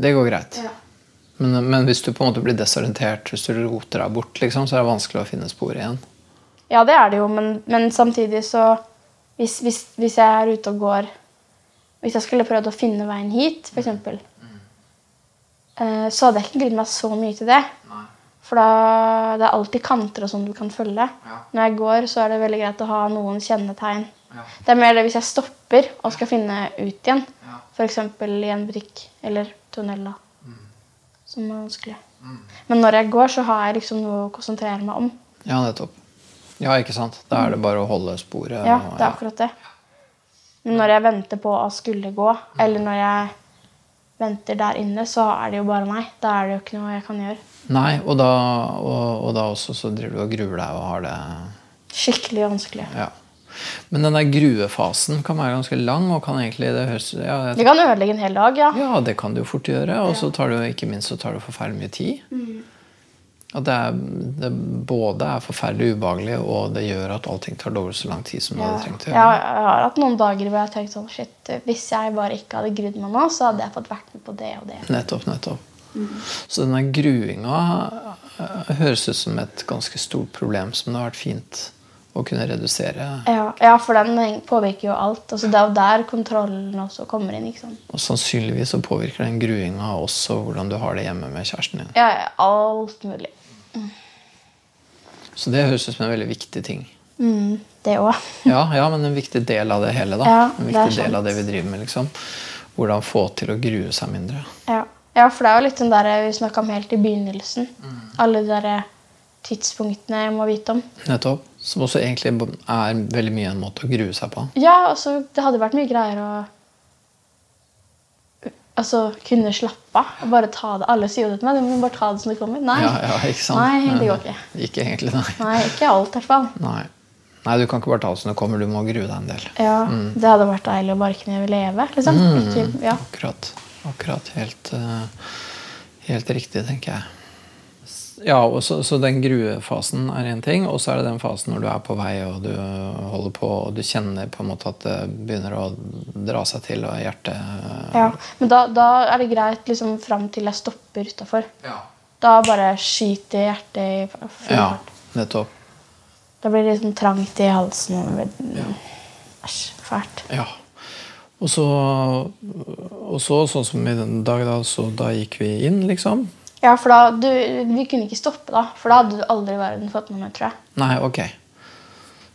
S2: Det går greit. Men, men hvis du på en måte blir desorientert, hvis du roter deg bort, liksom, så er det vanskelig å finne spor igjen.
S3: Ja, det er det jo, men, men samtidig så hvis, hvis, hvis jeg
S2: Mm.
S3: er ute og går Hvis jeg skulle prøvd å finne veien hit, f.eks., eh, så hadde jeg ikke gledet meg så mye til det.
S2: Nei.
S3: For da, det er alltid kanter og sånn du kan følge.
S2: Ja.
S3: Når jeg går, så er det veldig greit å ha noen kjennetegn.
S2: Ja.
S3: Det er mer det hvis jeg stopper og skal finne ut igjen.
S2: Ja.
S3: F.eks. i en butikk eller tunnel. da. Som er vanskelig.
S2: Mm.
S3: Men når jeg går, så har jeg liksom noe å konsentrere meg om.
S2: Ja, nettopp. Ja, ikke sant. Da er det bare å holde sporet.
S3: Ja,
S2: og-
S3: det er akkurat det. Men når jeg venter på å skulle gå, eller når jeg venter der inne, så er det jo bare meg. Da er det jo ikke noe jeg kan gjøre.
S2: Nei, og da, og, og da også så driver du og gruer deg og har det
S3: Skikkelig vanskelig.
S2: Ja. Men den der gruefasen kan være ganske lang, og kan egentlig det høres ja,
S3: Det
S2: jeg,
S3: kan ødelegge en hel dag, ja.
S2: ja, det kan du jo fort gjøre. Og så tar det jo ikke minst så tar det forferdelig mye tid.
S3: Mm.
S2: At det, er, det både er forferdelig ubehagelig, og det gjør at allting tar dobbelt så lang tid som det hadde trengt å
S3: Jeg,
S2: gjøre.
S3: har- jeg har hatt noen dager hvor jeg har tenkt sånn Shit, hvis jeg bare ikke hadde grudd meg nå, så hadde jeg fått vært med på det og det.
S2: Nettopp, nettopp. Så denne gruinga eh, høres ut som et ganske stort problem som det har vært fint å kunne redusere.
S3: Ja, ja for den påvirker jo alt. Altså, det er jo der kontrollen også kommer inn. ikke sant?
S2: Og sannsynligvis så påvirker den gruinga også hvordan du har det hjemme med kjæresten din.
S3: Ja, ja, alt mulig.
S2: Så det høres ut som en veldig viktig ting.
S3: Mm, det òg.
S2: Ja, ja men en viktig del av det hele, da.
S3: Ja,
S2: en
S3: det er
S2: viktig del
S3: sant.
S2: av det vi driver med, liksom. Hvordan få til å grue seg mindre.
S3: Ja. ja, for det er jo litt den der eh, vi snakka om helt i begynnelsen.
S2: Mm.
S3: Alle de der eh, tidspunktene jeg må vite om.
S2: Nettopp. Som også egentlig er veldig mye en måte å grue seg på.
S3: Ja, altså, det hadde vært mye greier å Altså, kunne slappe av og bare ta det. Alle sier jo det til meg. Du må bare ta det som det kommer. Nei,
S2: Ja, ja, ikke sant? eh,
S3: Nei, det går ikke.
S2: Ikke egentlig, nei.
S3: Nei ikke alt, i hvert fall.
S2: nei. Nei, du kan ikke bare ta det som det kommer, du må grue deg en del.
S3: Ja,
S2: Mm.
S3: Det hadde vært deilig å bare kunne leve. liksom. Ikke, ja.
S2: Akkurat. Akkurat. Helt, eh, helt riktig, tenker jeg. S- Ja, og så, så den gruefasen er én ting, og så er det den fasen når du er på vei og du holder på og du kjenner på en måte at det begynner å dra seg til og hjertet
S3: ja. Men da, da er det greit liksom, fram til jeg stopper utafor.
S2: Ja.
S3: Da bare skyter hjertet i full fart.
S2: nettopp.
S3: Da blir det liksom trangt i halsen. og det blir- Æsj, fælt.
S2: Ja. Og så, og så, sånn som i den dag, da, så da gikk vi inn, liksom.
S3: Ja, for da, du, Vi kunne ikke stoppe da, for da hadde du aldri i verden fått med meg, tror jeg.
S2: Nei, ok.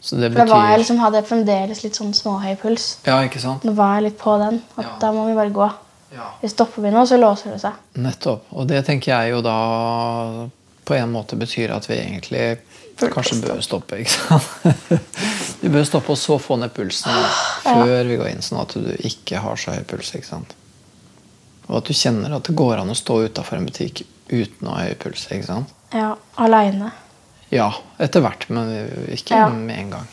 S2: Så det
S3: For da
S2: betyr
S3: var jeg liksom, hadde jeg fremdeles litt sånn småhøy puls.
S2: Ja, ikke sant?
S3: Nå var jeg litt på den. at
S2: Ja.
S3: Da må vi bare gå.
S2: Ja.
S3: Hvis stopper vi nå, så låser det seg.
S2: Nettopp. Og det tenker jeg jo da på en måte betyr at vi egentlig
S3: Burde
S2: kanskje bør stoppe. ikke sant? Vi bør stoppe og så få ned pulsen før vi går inn, sånn at du ikke har så høy puls. ikke sant? Og at du kjenner at det går an å stå utafor en butikk uten å ha høy puls. ikke sant?
S3: Ja, Aleine.
S2: Ja, etter hvert, men ikke
S3: Ja.
S2: med en gang.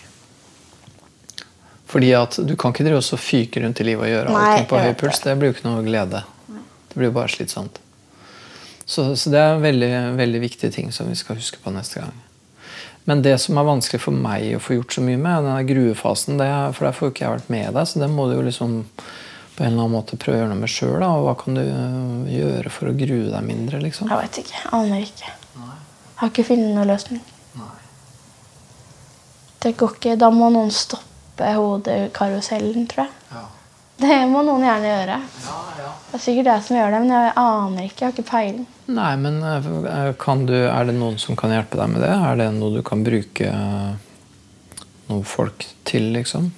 S2: Fordi at du kan ikke drive og så fyke rundt i livet og gjøre
S3: Nei,
S2: allting på
S3: jeg
S2: høy
S3: vet
S2: puls. Det blir jo ikke noe glede. Det blir jo bare slitsomt. Så, så det er en veldig, veldig viktig ting som vi skal huske på neste gang. Men det som er vanskelig for meg å få gjort så mye med, den der gruefasen, det er, for der får jo ikke jeg vært med deg, så det må du jo liksom på en eller annen måte prøve å gjøre noe med sjøl. Hva kan du eh, gjøre for å grue deg mindre? liksom?
S3: Jeg veit ikke. Aner ikke. Har ikke funnet noen løsning. Det går ikke. Da må noen stoppe hodekarusellen, tror jeg.
S2: Ja.
S3: Det må noen gjerne gjøre.
S2: Ja, ja.
S3: Det er sikkert jeg som gjør det, men jeg aner ikke. Jeg har ikke peiling.
S2: Nei, men eh, kan du, er det noen som kan hjelpe deg med det? Er det noe du kan bruke eh, noen folk til, liksom?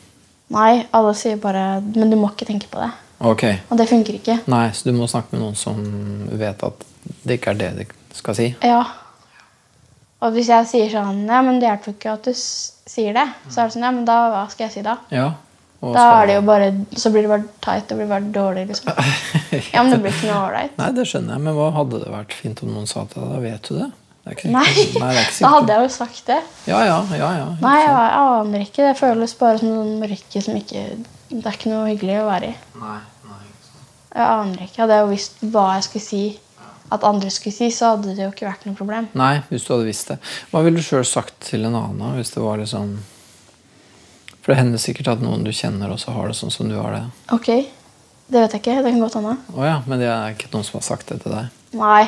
S3: Nei, alle sier bare Men du må ikke tenke på det.
S2: Ok.
S3: Og det funker ikke.
S2: Nei, så du må snakke med noen som vet at det ikke er det de skal si?
S3: Ja. Og hvis jeg sier sånn Ja, men det hjelper jo ikke at du s- sier det. Så er det sånn Ja, men da hva skal jeg si da?
S2: Ja. og
S3: Da
S2: skal-
S3: er det jo bare Så blir det bare tight. Det blir bare dårlig, liksom. Ja, men det blir ikke noe ålreit.
S2: Nei, det skjønner jeg, men hva hadde det vært fint om noen sa til deg? Da vet du det. det er ikke
S3: Nei.
S2: sikkert- Nei, det er ikke
S3: Da hadde
S2: sikkert.
S3: jeg jo sagt det.
S2: Ja, ja, ja, ja.
S3: Nei, jeg aner ikke. Det føles bare som noen mørke som ikke Det er ikke noe hyggelig å være i.
S2: Nei, nei.
S3: Jeg aner ikke. Hadde jeg jo visst hva jeg skulle si, at andre skulle si, så hadde det jo ikke vært noe problem.
S2: Nei, hvis du hadde visst det. Hva ville du sjøl sagt til en annen da, hvis det var liksom For det hender sikkert at noen du kjenner også har det sånn som du har det.
S3: Ok, det vet jeg ikke. Det kan godt hende.
S2: Å ja, men det er ikke noen som har sagt det til deg?
S3: Nei,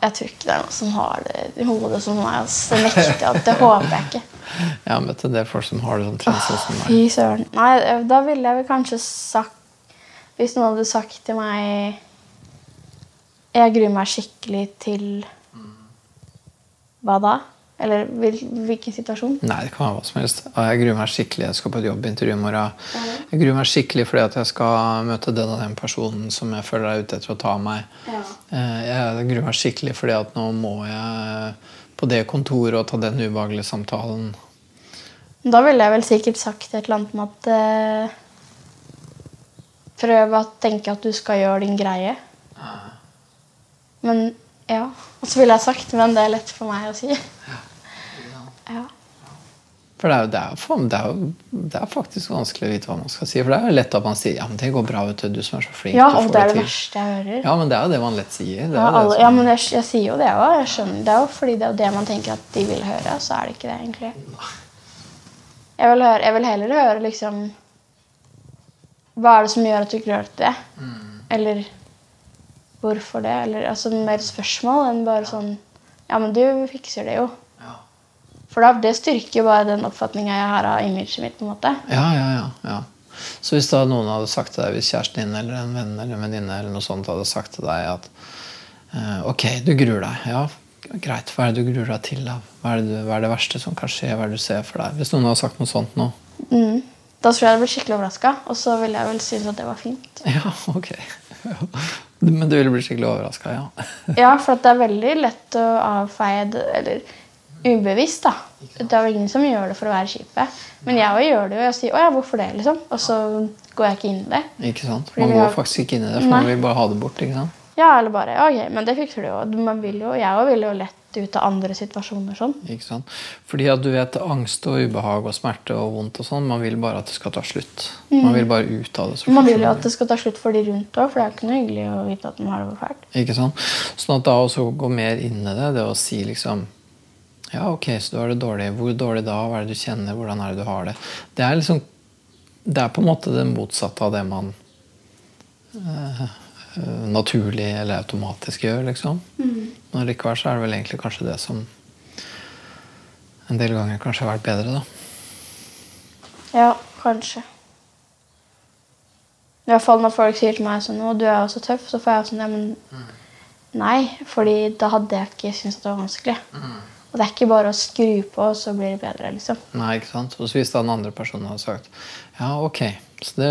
S3: jeg tror ikke det er noen som har det i hodet som meg. ass. Det nekter jeg. Det håper jeg ikke.
S2: Jeg har møtt en del folk som har det omtrent sånn som meg.
S3: Fy søren. Nei, da ville jeg vel kanskje sagt Hvis noen hadde sagt til meg Jeg gruer meg skikkelig til Hva da? Eller hvil, hvilken situasjon?
S2: Nei, det kan være hva som helst. Ja, Jeg gruer meg skikkelig. Jeg skal på et jobbintervju i morgen. Jeg gruer meg skikkelig fordi at jeg skal møte den og den personen som jeg føler er ute etter å ta meg.
S3: Ja.
S2: Eh, Jeg gruer meg skikkelig fordi at nå må jeg på det kontoret og ta den ubehagelige samtalen.
S3: Da ville jeg vel sikkert sagt et eller annet om at eh, Prøv å tenke at du skal gjøre din greie. Men ja. Og så ville jeg sagt, men det er lett for meg å si. Ja.
S2: For det er, jo, det, er, jo faen- det, er, jo- det er faktisk vanskelig å vite hva man skal si. For det er jo lett at man sier ja, men det går bra, vet du, du som er så flink.
S3: ja,
S2: du
S3: og
S2: får
S3: det er det
S2: til».
S3: verste jeg hører.
S2: Ja, men det er jo det man lett sier. Det er
S3: Ja,
S2: jo det
S3: alle,
S2: som-
S3: ja, men jeg, jeg sier jo det òg. Jeg skjønner det jo, fordi det er jo det man tenker at de vil høre. Så er det ikke det, egentlig. Jeg vil, høre, jeg vil heller høre liksom Hva er det som gjør at du ikke klarte det?
S2: Mm.
S3: Eller hvorfor det? Eller altså mer spørsmål enn bare sånn Ja, men du fikser det jo.
S2: Ja.
S3: For da, det styrker jo bare den oppfatninga jeg har av imaget mitt. på en måte.
S2: Ja, ja, ja, ja. Så hvis da noen hadde sagt til deg, hvis kjæresten din eller en venn eller en venninne eller noe sånt hadde sagt til deg at eh, ok, du gruer deg, ja, greit, hva er det du gruer deg til av? Hva er det, du, hva er det verste som kan skje, hva er det du ser for deg? Hvis noen hadde sagt noe sånt nå.
S3: Mm. Da tror jeg jeg hadde blitt skikkelig overraska, og så ville jeg vel synes at det var fint.
S2: Ja, ok. Ja. Men du ville bli skikkelig overraska, ja.
S3: Ja, for at det er veldig lett å avfeie det, eller ubevisst, da. Det er jo ingen som gjør det for å være kjipe. Men jeg også gjør det jo. Jeg sier 'Å ja, hvorfor det?' liksom. Og så går jeg ikke inn i det.
S2: Ikke sant?
S3: Fordi
S2: Man
S3: vi
S2: går
S3: har-
S2: faktisk ikke inn i det, for man
S3: Nei.
S2: vil bare ha det bort. ikke sant?
S3: Ja, eller bare 'OK, men det fikser du jo'. Man vil jo jeg òg vil jo lett ut av andre situasjoner sånn.
S2: Ikke sant? Fordi at du vet angst og ubehag og smerte og vondt og sånn, man vil bare at det skal ta slutt. Man vil bare ut av det. så
S3: Men Mm. Man
S2: fort som
S3: vil jo
S2: mulig.
S3: at det skal ta slutt for de rundt òg, for det er jo ikke noe hyggelig å vite at de har det fælt.
S2: Ikke sant? Sånn at da også gå mer inn i det, det å si liksom Ja, ok, så du har det dårlig. Hvor dårlig da? Hva er det du kjenner? Hvordan er det du har det? Det er liksom Det er på en måte det motsatte av det man eh, eh, naturlig eller automatisk gjør, liksom. Men likevel så er det vel egentlig kanskje det som en del ganger kanskje har vært bedre, da.
S3: Ja, kanskje. I hvert fall når folk sier til meg sånn 'Å, du er jo så tøff', så får jeg sånn Ja, men nei. fordi da hadde jeg ikke syntes at det var vanskelig. Og det er ikke bare å skru på, og så blir det bedre, liksom.
S2: Nei, ikke sant? Og så hvis da den andre personen hadde sagt Ja, ok. Så det,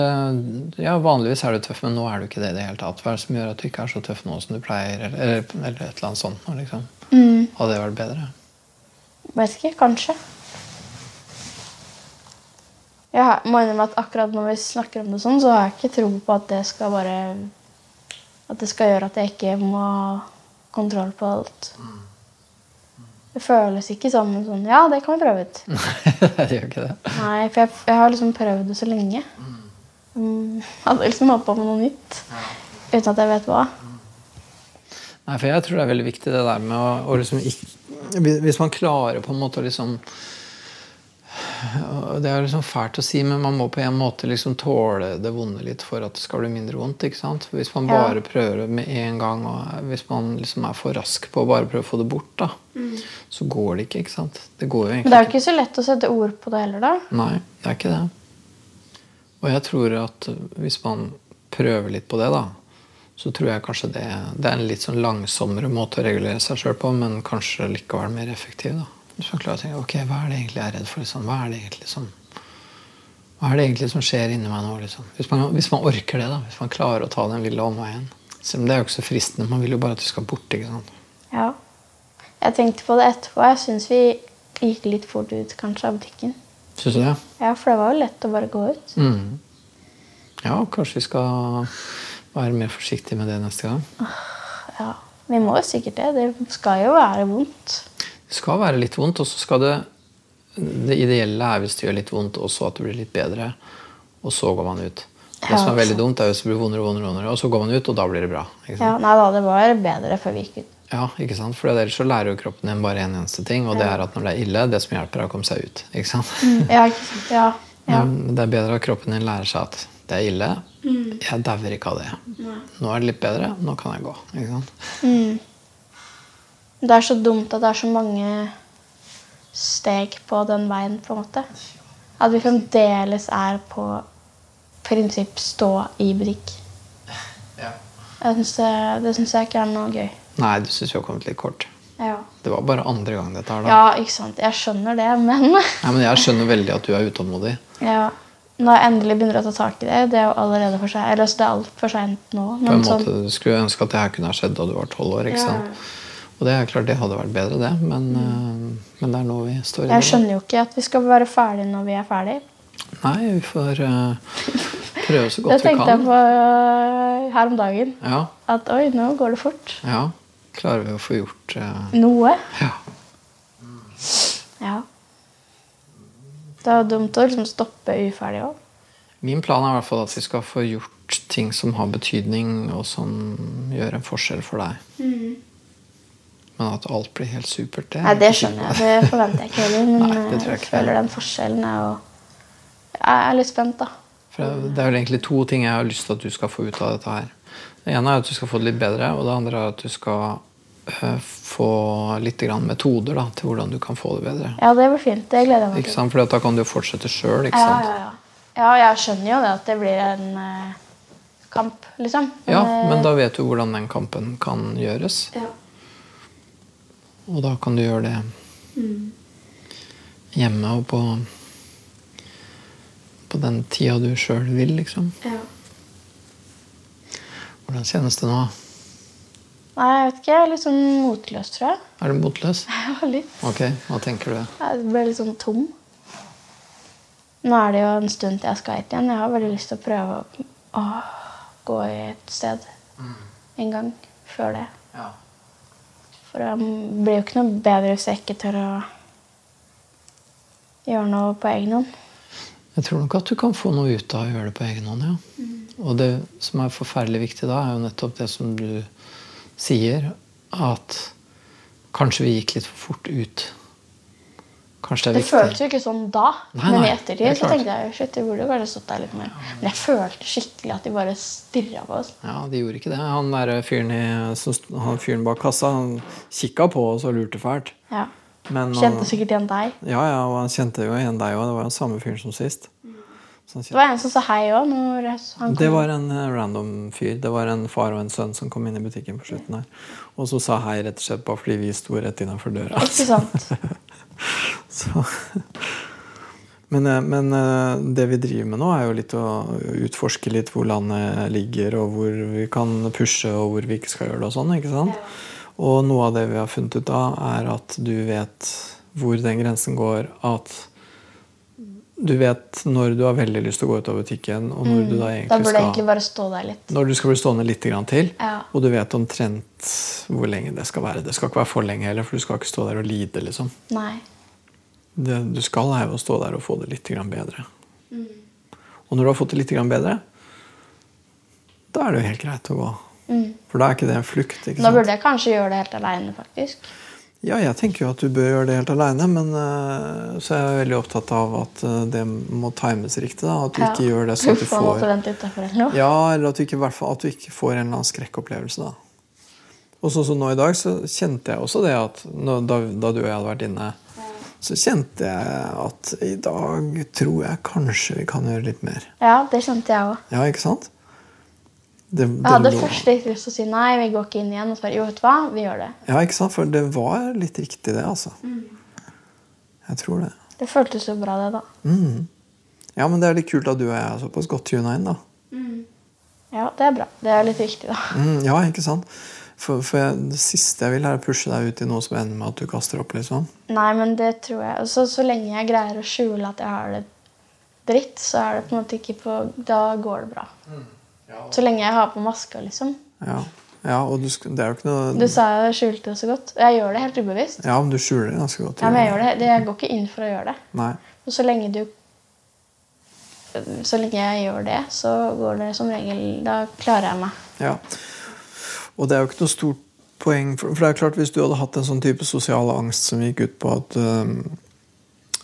S2: ja, vanligvis er du tøff, men nå er du ikke det i det hele tatt. Hva er det som gjør at du ikke er så tøff nå som du pleier? Eller, eller, eller et eller annet sånt. nå, Liksom. Hadde det vært bedre?
S3: Vet ikke. Kanskje. Jeg har- må innrømme at akkurat når vi snakker om det sånn, så har jeg ikke tro på at det skal bare At det skal gjøre at jeg ikke må ha kontroll på alt. Det føles ikke som sånn Ja, det kan vi prøve ut.
S2: Nei, det gjør ikke det.
S3: Nei, for jeg, jeg har liksom prøvd det så lenge. Mm. Hadde liksom holdt på med noe nytt. Uten at jeg vet hva.
S2: Nei, for jeg tror det er veldig viktig det der med å, å liksom ikke hvis- Hvis man klarer på en måte å liksom og Det er liksom fælt å si, men man må på en måte liksom tåle det vonde litt for at det skal bli mindre vondt. ikke sant? For Hvis man
S3: Ja.
S2: bare prøver med en gang, og hvis man liksom er for rask på å bare prøve å få det bort, da, så går det ikke. ikke sant? Det går jo
S3: Mm. Men det
S2: egentlig
S3: er jo ikke så lett å sette ord på det heller, da.
S2: Nei, det er ikke det. Og jeg tror at hvis man prøver litt på det, da, så tror jeg kanskje det, det er en litt sånn langsommere måte å regulere seg sjøl på, men kanskje likevel mer effektiv. da. Hvis man klarer å tenke ok, hva er det egentlig jeg er redd for? Liksom? Hva er det egentlig som hva er det egentlig som skjer inni meg nå? Liksom? Hvis, man, hvis man orker det, da. Hvis man klarer å ta den lille omveien. Selv om det er jo ikke så fristende. Man vil jo bare at det skal bort. ikke sant?
S3: Ja. Jeg tenkte på det etterpå. Jeg syns vi gikk litt fort ut kanskje av butikken.
S2: Syns du det?
S3: Ja, For det var jo lett å bare gå ut.
S2: Mm. Ja, kanskje vi skal være mer forsiktige med det neste gang.
S3: Ja, Vi må jo sikkert det. Det skal jo være vondt.
S2: Det skal være litt vondt, og så skal det Det ideelle er hvis det gjør litt vondt, og så at det blir litt bedre. Og så går man ut. Det
S3: Ja,
S2: som er veldig
S3: ikke sant.
S2: dumt, er hvis det blir vondere og vondere, og vondere, og så går man ut, og da blir det bra. Ikke sant?
S3: Ja, Nei da, det var bedre før vi gikk ut.
S2: Ja. ikke sant? For ellers så lærer jo kroppen din bare en eneste ting, og det er at når det er ille, det som hjelper, er å komme seg ut. Ikke sant?
S3: Ja, ikke sant? Ja. Mm, ja.
S2: Men Det er bedre at kroppen din lærer seg at det er ille.
S3: Mm.
S2: Jeg dauer ikke av det. Nå er det litt bedre. Nå kan jeg gå. Ikke sant?
S3: Det er så dumt at det er så mange steg på den veien, på en måte. At vi fremdeles er på prinsipp stå i butikk.
S2: Ja.
S3: Jeg synes det, det syns jeg ikke er noe gøy.
S2: Nei, du syns vi har kommet litt kort.
S3: Ja.
S2: Det var bare andre gang dette her, da.
S3: ja, ikke sant. Jeg skjønner det, men
S2: Nei, men jeg skjønner veldig at du er utålmodig.
S3: ja. Når jeg endelig begynner å ta tak i det, det er jo allerede for seg. Eller, altså, det er alt for seint nå.
S2: På en
S3: Men sånn,
S2: måte, Du skulle jo ønske at det her kunne ha skjedd da du var tolv år. ikke
S3: Ja. Mm.
S2: sant? Og det er klart det hadde vært bedre, det, men, eh, men det er nå vi står i.
S3: jeg
S2: det, da.
S3: skjønner jo ikke at vi skal være ferdige når vi er ferdige.
S2: Nei, vi får eh, prøve så
S3: Det
S2: godt vi
S3: tenkte jeg
S2: kan.
S3: på øh, her om dagen.
S2: Ja,
S3: At oi, nå går det fort.
S2: ja. Klarer vi å få gjort eh,
S3: Noe.
S2: Ja.
S3: Ja. Det er jo dumt å liksom stoppe uferdig òg.
S2: Min plan er i hvert fall at vi skal få gjort ting som har betydning, og som gjør en forskjell for deg. Men at alt blir helt supert, det er
S3: Mm. Nei, det
S2: ikke sikker
S3: skjønner jeg. Det forventer jeg ikke heller. Men
S2: Nei, det tror jeg
S3: jeg,
S2: ikke.
S3: føler den forskjellen er jo Jeg er litt spent, da.
S2: på. For det er- det er vel egentlig to ting jeg har lyst til at du skal få ut av dette her. Det ene er at du skal få det litt bedre, og det andre er at du skal øh, få litt grann metoder da, til hvordan du kan få det bedre.
S3: Ja, det blir fint. Det gleder jeg meg
S2: Ikke
S3: til.
S2: sant? For da kan du jo fortsette sjøl, ikke
S3: Ja,
S2: sant?
S3: ja, ja. ja, jeg skjønner jo det at det blir en eh, kamp, liksom.
S2: Ja,
S3: eh,
S2: men da vet du hvordan den kampen kan gjøres.
S3: ja.
S2: Og da kan du gjøre det
S3: Mm.
S2: hjemme og på på den tida du sjøl vil, liksom.
S3: ja.
S2: Hvordan kjennes det nå?
S3: Nei, jeg vet ikke. Jeg er litt sånn motløs, tror jeg.
S2: Er du motløs?
S3: Ja, litt.
S2: Ok, hva tenker du?
S3: Jeg ble litt sånn tom. Nå er det jo en stund til jeg skal hit igjen. Jeg har veldig lyst til å prøve å, å gå i et sted
S2: Mm.
S3: en gang før det.
S2: Ja.
S3: For det blir jo ikke noe bedre hvis jeg ikke tør å gjøre noe på egen hånd.
S2: Jeg tror nok at du kan få noe ut av å gjøre det på egen hånd, ja.
S3: Mm.
S2: Og det som er forferdelig viktig da, er jo nettopp det som du sier, at kanskje vi gikk litt for fort ut. Kanskje det
S3: Det
S2: er viktig.
S3: føltes jo ikke sånn da,
S2: Nei,
S3: men
S2: nei,
S3: i
S2: det er
S3: ettertid så
S2: klart.
S3: tenkte jeg jo, shit, vi burde jo kanskje stått der litt mer. Men jeg følte skikkelig at de bare stirra på oss.
S2: Ja, de gjorde ikke det. Han der fyren, i, som st- han fyren bak kassa han kikka på oss og lurte fælt.
S3: Ja.
S2: Men,
S3: Kjente
S2: han-
S3: sikkert igjen deg.
S2: Ja, ja, og han kjente jo igjen deg òg. Det var jo samme fyren som sist.
S3: Mm.
S2: Så han
S3: Det
S2: kjente.
S3: var en som sa hei òg når han kom.
S2: Det var en eh, random fyr. Det var en far og en sønn som kom inn i butikken på slutten her. Og som sa hei rett og slett bare fordi vi sto rett innafor døra.
S3: Ikke sant?
S2: Så. Men, eh, men eh, det vi driver med nå, er jo litt å utforske litt hvor landet ligger, og hvor vi kan pushe, og hvor vi ikke skal gjøre det. Og sånn, ikke sant? Og noe av det vi har funnet ut av, er at du vet hvor den grensen går. At du vet når du har veldig lyst til å gå ut av butikken, og når du da
S3: Mm. Da
S2: egentlig
S3: burde jeg egentlig
S2: skal
S3: bare stå der litt.
S2: når du skal bli stående litt grann til,
S3: Ja.
S2: og du vet omtrent hvor lenge det skal være. Det skal ikke være for lenge heller, for du skal ikke stå der og lide. liksom
S3: Nei.
S2: det du skal, er jo å stå der og få det litt grann bedre. Mm. Og når du har fått det litt grann bedre, da er det jo helt greit å gå. For da er ikke det en flukt. ikke
S3: Nå
S2: sant?
S3: burde jeg kanskje gjøre det helt aleine, faktisk.
S2: Ja, jeg tenker jo at du bør gjøre det helt aleine, men eh, så er jeg veldig opptatt av at eh, det må times riktig. da, At du ikke gjør det så
S3: sånn
S2: at du får
S3: vente utenfor eller noe.
S2: Ja, eller at du ikke, i hvert fall, at du ikke får en eller annen skrekkopplevelse. da. Og sånn som nå i dag, så kjente jeg også det at når, da, da du og jeg hadde vært inne, så kjente jeg at i dag tror jeg kanskje vi kan gjøre litt mer.
S3: Ja, det kjente jeg òg.
S2: Ja, ikke sant? Det,
S3: Jeg hadde
S2: det lå-
S3: først litt lyst til å si nei, vi går ikke inn igjen. Og så bare jo, vet du hva, vi gjør det.
S2: Ja, ikke sant? For det var litt riktig, det, altså. Jeg tror det.
S3: Det føltes jo bra, det, da.
S2: Ja, men det er litt kult at du og jeg er såpass godt tuna inn, da.
S3: Ja, det er bra. Det er litt viktig, da.
S2: Mm, ja, ikke sant? For, for jeg, det siste jeg vil, er å pushe deg ut i noe som ender med at du kaster opp, liksom.
S3: Nei, men det tror jeg. Så, så lenge jeg greier å skjule at jeg har det dritt, så er det på en måte ikke på Da går det bra. Så lenge jeg har på maska, liksom.
S2: Ja, ja og du, sk- det er jo ikke
S3: Du
S2: noe
S3: sa jeg skjulte det så godt. Og jeg gjør det helt ubevisst.
S2: Ja, men du skjuler det ganske godt.
S3: Ja, men jeg, gjør det. jeg går ikke inn for å gjøre det.
S2: Nei.
S3: Og så lenge du Så lenge jeg gjør det, så går det som regel Da klarer jeg meg.
S2: Ja. Og det er jo ikke noe stort poeng For, for det er klart hvis du hadde hatt en sånn type sosial angst som gikk ut på at øhm,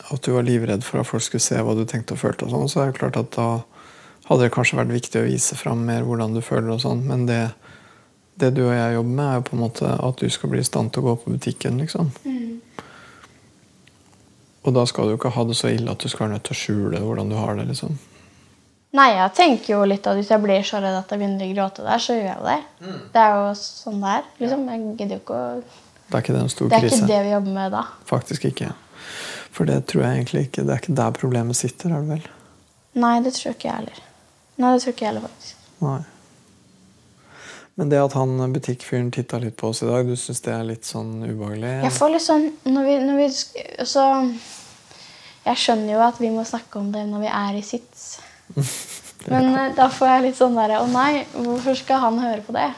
S2: at du var livredd for at folk skulle se hva du tenkte og følte, og sånn, så er det jo klart at da hadde det kanskje vært viktig å vise fram mer hvordan du føler. og sånn, Men det, det du og jeg jobber med, er jo på en måte at du skal bli i stand til å gå på butikken. liksom.
S3: Mm.
S2: Og da skal du ikke ha det så ille at du skal være nødt til å skjule hvordan du har det. liksom.
S3: Nei, jeg tenker jo litt at hvis jeg blir så redd at jeg begynner å gråte der, så gjør jeg jo det. Det er jo sånn det er. Liksom. Jeg gidder jo ikke å
S2: Det er ikke det en stor
S3: Det er
S2: krise.
S3: ikke det vi jobber med da.
S2: Faktisk ikke. For det tror jeg egentlig ikke Det er ikke der problemet sitter, er det vel?
S3: Nei, det tror ikke jeg heller. Nei, det tror ikke jeg heller, faktisk.
S2: Nei. Men det at han butikkfyren titta litt på oss i dag, du syns det er litt sånn ubehagelig?
S3: Jeg får litt sånn når vi, når vi sk- Så Jeg skjønner jo at vi må snakke om det når vi er i sits. Men eh, da får jeg litt sånn derre Å nei, hvorfor skal han høre på det?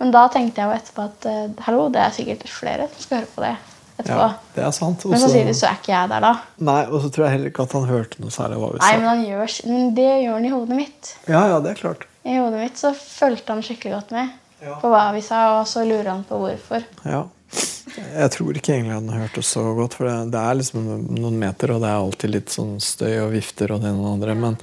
S3: Men da tenkte jeg jo etterpå at eh, hallo, det er sikkert flere som skal høre på det etterpå.
S2: Ja, det er sant.
S3: Men
S2: Også-
S3: samtidig så er ikke jeg der da.
S2: Nei, og så tror jeg heller ikke at han hørte noe særlig hva vi
S3: Nei,
S2: sa.
S3: men, han gjør, s- men det gjør han i hodet mitt.
S2: Ja, ja, det er klart.
S3: I hodet mitt så fulgte han skikkelig godt med
S2: Ja.
S3: på hva vi sa, og så lurer han på hvorfor.
S2: Ja. Jeg tror ikke egentlig han hørte så godt, for det, det er liksom noen meter, og det er alltid litt sånn støy og vifter og det ene og det andre. Men,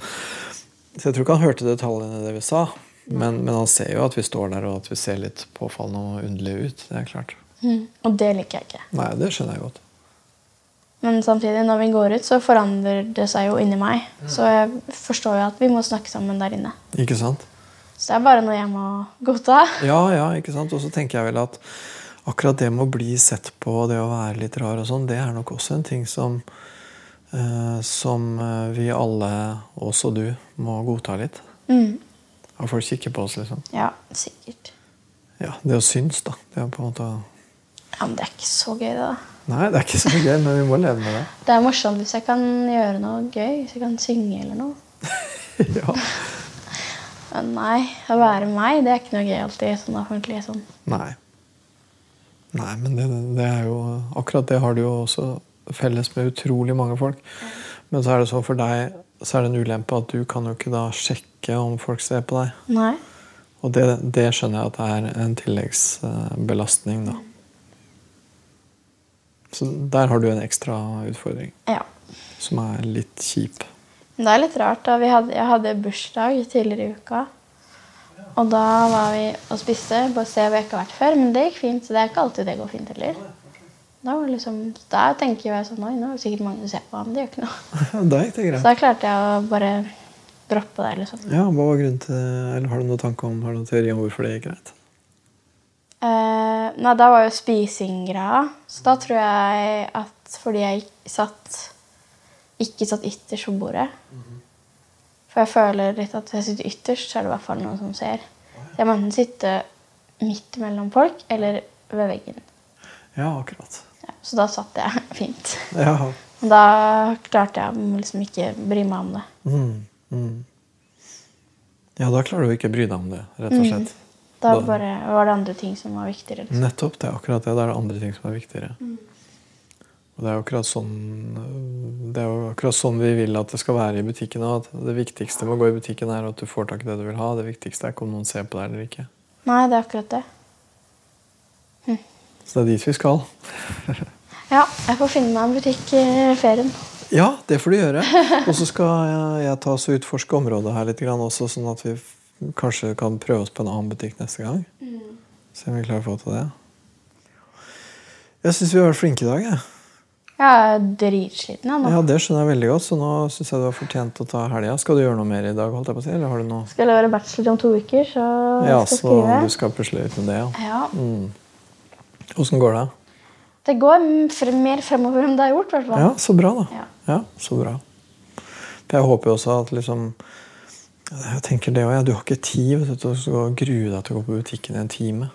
S2: så jeg tror ikke han hørte detaljene i det vi sa. Men, men han ser jo at vi står der, og at vi ser litt påfallende og underlige ut. Det er klart. Mm.
S3: Og det liker jeg ikke.
S2: Nei, det skjønner jeg godt.
S3: Men samtidig, når vi går ut, så forandrer det seg jo inni meg. Så jeg forstår jo at vi må snakke sammen der inne.
S2: Ikke sant?
S3: Så det er bare noe jeg må godta.
S2: Ja, ja, ikke sant? Og så tenker jeg vel at akkurat det med å bli sett på og det å være litt rar og sånn, det er nok også en ting som eh, som eh, vi alle, også du, må godta litt.
S3: Mm.
S2: At folk kikker på oss, liksom.
S3: Ja, sikkert.
S2: Ja, Det å synes, da. Det er på en måte å-
S3: Ja, Men det er ikke så gøy, det da.
S2: Nei, det er ikke så gøy, men vi må leve med det.
S3: Det er morsomt hvis jeg kan gjøre noe gøy. Hvis jeg kan synge eller noe.
S2: ja.
S3: Men nei, å være meg, det er ikke noe gøy alltid. Sånn offentlig sånn.
S2: Nei. Nei, men det, det er jo Akkurat det har du jo også felles med utrolig mange folk. Men så er det sånn for deg så er det en ulempe at du kan jo ikke da sjekke om folk ser på deg.
S3: Nei.
S2: Og det, det skjønner jeg at det er en tilleggsbelastning, da. Så der har du en ekstra utfordring
S3: Ja.
S2: som er litt kjip.
S3: Men det er litt rart. da. Vi hadde, jeg hadde bursdag tidligere i uka. Og da var vi og spiste på et sted hvor jeg ikke har vært før. Men det gikk fint. Så det er ikke alltid det går fint heller. Da var det liksom, der tenker jeg sånn Oi, nå er det sikkert mange som ser på ham. Det gjør ikke noe.
S2: da gikk det
S3: Så
S2: greit.
S3: da klarte jeg å bare droppe det, liksom.
S2: Ja, hva var grunnen til, eller Har du noen tanke om, har du noen teori om hvorfor det gikk greit?
S3: Eh, nei, da var jo spising greia. Så da tror jeg at fordi jeg ikke satt ikke satt ytterst på bordet For jeg føler litt at hvis jeg sitter ytterst, så er det i hvert fall noen som ser. Så jeg må enten sitte midt mellom folk eller ved veggen.
S2: Ja, akkurat.
S3: Ja, så da satt jeg fint.
S2: Ja.
S3: Og da klarte jeg å liksom ikke bry meg om det.
S2: Mm, mm. ja, da klarer du ikke å bry deg om det, rett og slett.
S3: Da
S2: Da-
S3: bare var det andre ting som var viktigere. Liksom.
S2: Nettopp. Det er akkurat det. Da er det andre ting som er viktigere. Og det er, jo akkurat sånn, det er jo akkurat sånn vi vil at det skal være i butikken. og At det viktigste med å gå i butikken er at du får tak i det du vil ha. Det viktigste er ikke om noen ser på deg eller ikke.
S3: Nei, det er akkurat det.
S2: Så det er dit vi skal.
S3: Ja, jeg får finne meg en butikk i ferien.
S2: Ja, det får du gjøre. Og så skal jeg, jeg ta oss og utforske området her litt grann også, sånn at vi f- kanskje kan prøve oss på en annen butikk neste gang. Se om vi klarer å få til det. Jeg syns vi har vært flinke i dag. Jeg.
S3: Jeg er dritsliten jeg, nå.
S2: Ja, Det skjønner jeg veldig godt, så nå syns jeg du har fortjent å ta helga. Skal du gjøre noe mer i dag? holdt jeg på å si, eller har du noe?
S3: skal levere bachelor om to uker, så
S2: Ja,
S3: jeg skal
S2: så
S3: skrive.
S2: du skal pusle litt med det, ja.
S3: Ja.
S2: Åssen går det?
S3: Det går m- fre- mer fremover enn det har gjort, i hvert fall.
S2: Ja, så bra, da.
S3: Ja.
S2: Ja, så bra. For jeg håper jo også at liksom Jeg tenker det også, ja. Du har ikke tid vet du, til å gå og grue deg til å gå på butikken i en time.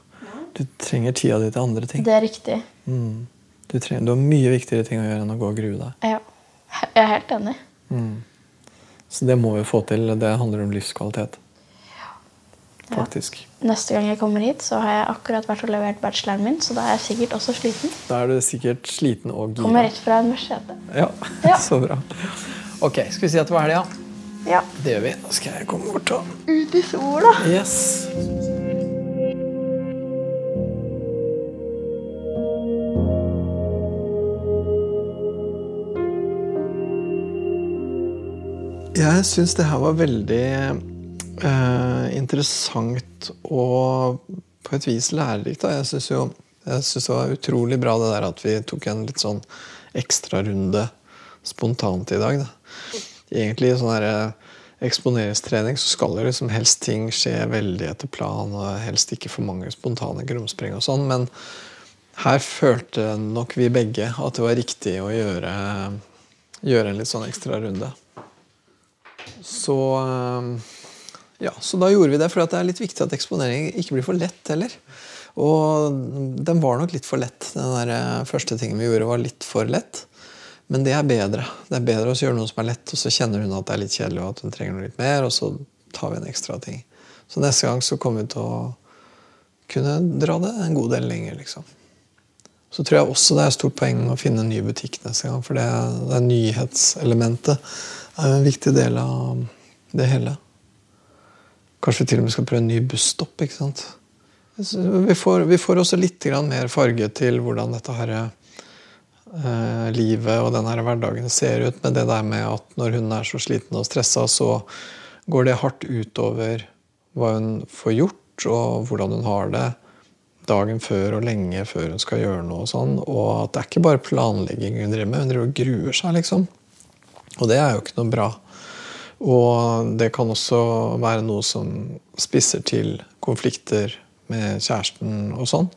S2: Du trenger tida di til andre ting.
S3: Det er riktig.
S2: Mm. Du, trenger, du har mye viktigere ting å gjøre enn å gå og grue deg.
S3: Ja. Jeg er helt enig.
S2: Så det må vi få til. Det handler om livskvalitet. Faktisk.
S3: Neste gang jeg kommer hit, så har jeg akkurat vært og levert bacheloren min, så da er jeg sikkert også sliten.
S2: Da er du sikkert sliten og gira.
S3: Kommer rett fra universitetet.
S2: Ja.
S3: Ja.
S2: så bra. Ok, skal vi si at det var helga?
S3: Ja.
S2: Det gjør vi. Da skal jeg komme bort og
S3: Ut i sola!
S2: Yes. Jeg syns det her var veldig eh, interessant og på et vis lærerikt. Da. Jeg syns jo jeg synes det var utrolig bra det der at vi tok en litt sånn ekstrarunde spontant i dag. Da. Egentlig sånn her, eh, eksponeringstrening så skal jo liksom helst ting skje veldig etter plan, og helst ikke for mange spontane krumspring og sånn, men her følte nok vi begge at det var riktig å gjøre, gjøre en litt sånn ekstra runde. Så eh, ja, så da gjorde vi det, for det er litt viktig at eksponeringen ikke blir for lett heller. Og den var nok litt for lett. Den der eh, første tingen vi gjorde, var litt for lett. Men det er bedre. Det er bedre å gjøre noe som er lett, og så kjenner hun at det er litt kjedelig, og at hun trenger noe litt mer, og så tar vi en ekstra ting. Så neste gang så kommer vi til å kunne dra det en god del lenger, liksom. Så tror jeg også det er et stort poeng å finne en ny butikk neste gang, for det, det er nyhetselementet er jo en viktig del av det hele. Kanskje vi til og med skal prøve en ny busstopp. ikke sant? Så Vi får, vi får også litt grann mer farge til hvordan dette her, eh, livet og denne her hverdagen ser ut. Men det der med at når hun er så sliten og stressa, så går det hardt utover hva hun får gjort, og hvordan hun har det dagen før og lenge før hun skal gjøre noe. Og sånn, og at det er ikke bare planlegging hun driver med. Hun driver og gruer seg, liksom. Og det er jo ikke noe bra. Og det kan også være noe som spisser til konflikter med kjæresten og sånn.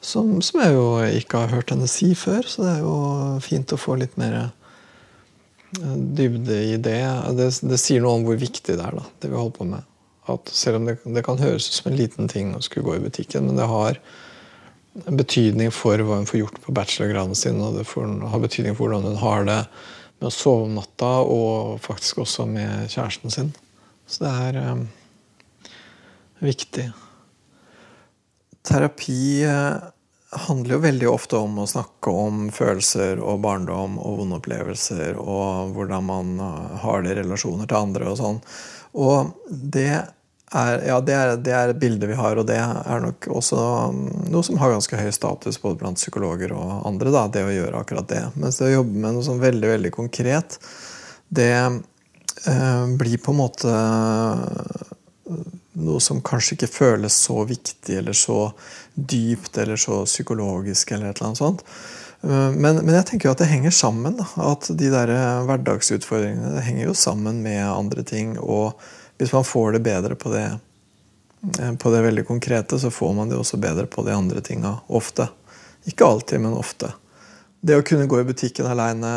S2: Som, som jeg jo ikke har hørt henne si før, så det er jo fint å få litt mer eh, dybde i det. det. Det sier noe om hvor viktig det er, da, det vi holder på med. At selv om det, det kan høres ut som en liten ting å skulle gå i butikken, men det har en betydning for hva hun får gjort på bachelorgraden sin, og det får, har betydning for hvordan hun har det med å sove om natta, og faktisk også med kjæresten sin. Så det er eh, viktig. Terapi eh, handler jo veldig ofte om å snakke om følelser og barndom og vonde opplevelser og hvordan man eh, har det i relasjoner til andre og sånn. Og det er, ja, det er, det er et bilde vi har, og det er nok også mm, noe som har ganske høy status både blant psykologer og andre, da, det å gjøre akkurat det. Mens det å jobbe med noe sånn veldig, veldig konkret, det eh, blir på en måte eh, noe som kanskje ikke føles så viktig eller så dypt eller så psykologisk eller et eller annet sånt. Eh, Men, men jeg tenker jo at det henger sammen. Da. At de der eh, hverdagsutfordringene det henger jo sammen med andre ting. Og hvis man får det bedre på det, eh, på det veldig konkrete, så får man det også bedre på de andre tinga ofte. Ikke alltid, men ofte. Det å kunne gå i butikken aleine,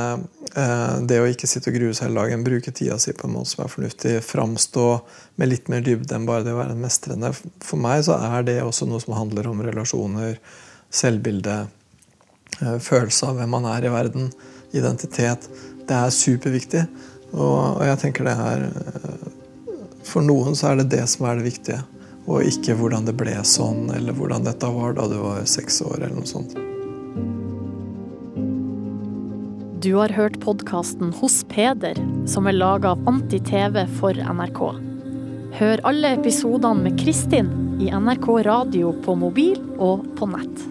S2: det å ikke sitte og grue seg hele dagen, bruke tida si på en måte som er fornuftig, framstå med litt mer dybde enn bare det å være en mestrende For meg så er det også noe som handler om relasjoner, selvbilde, eh, følelse av hvem man er i verden, identitet. Det er superviktig, og, og jeg tenker det er eh, For noen så er det det som er det viktige, og ikke hvordan det ble sånn, eller hvordan dette var da du var seks år, eller noe sånt.
S1: Du har hørt podkasten Hos Peder, som er laga av Anti-TV for NRK. Hør alle episodene med Kristin i NRK Radio på mobil og på nett.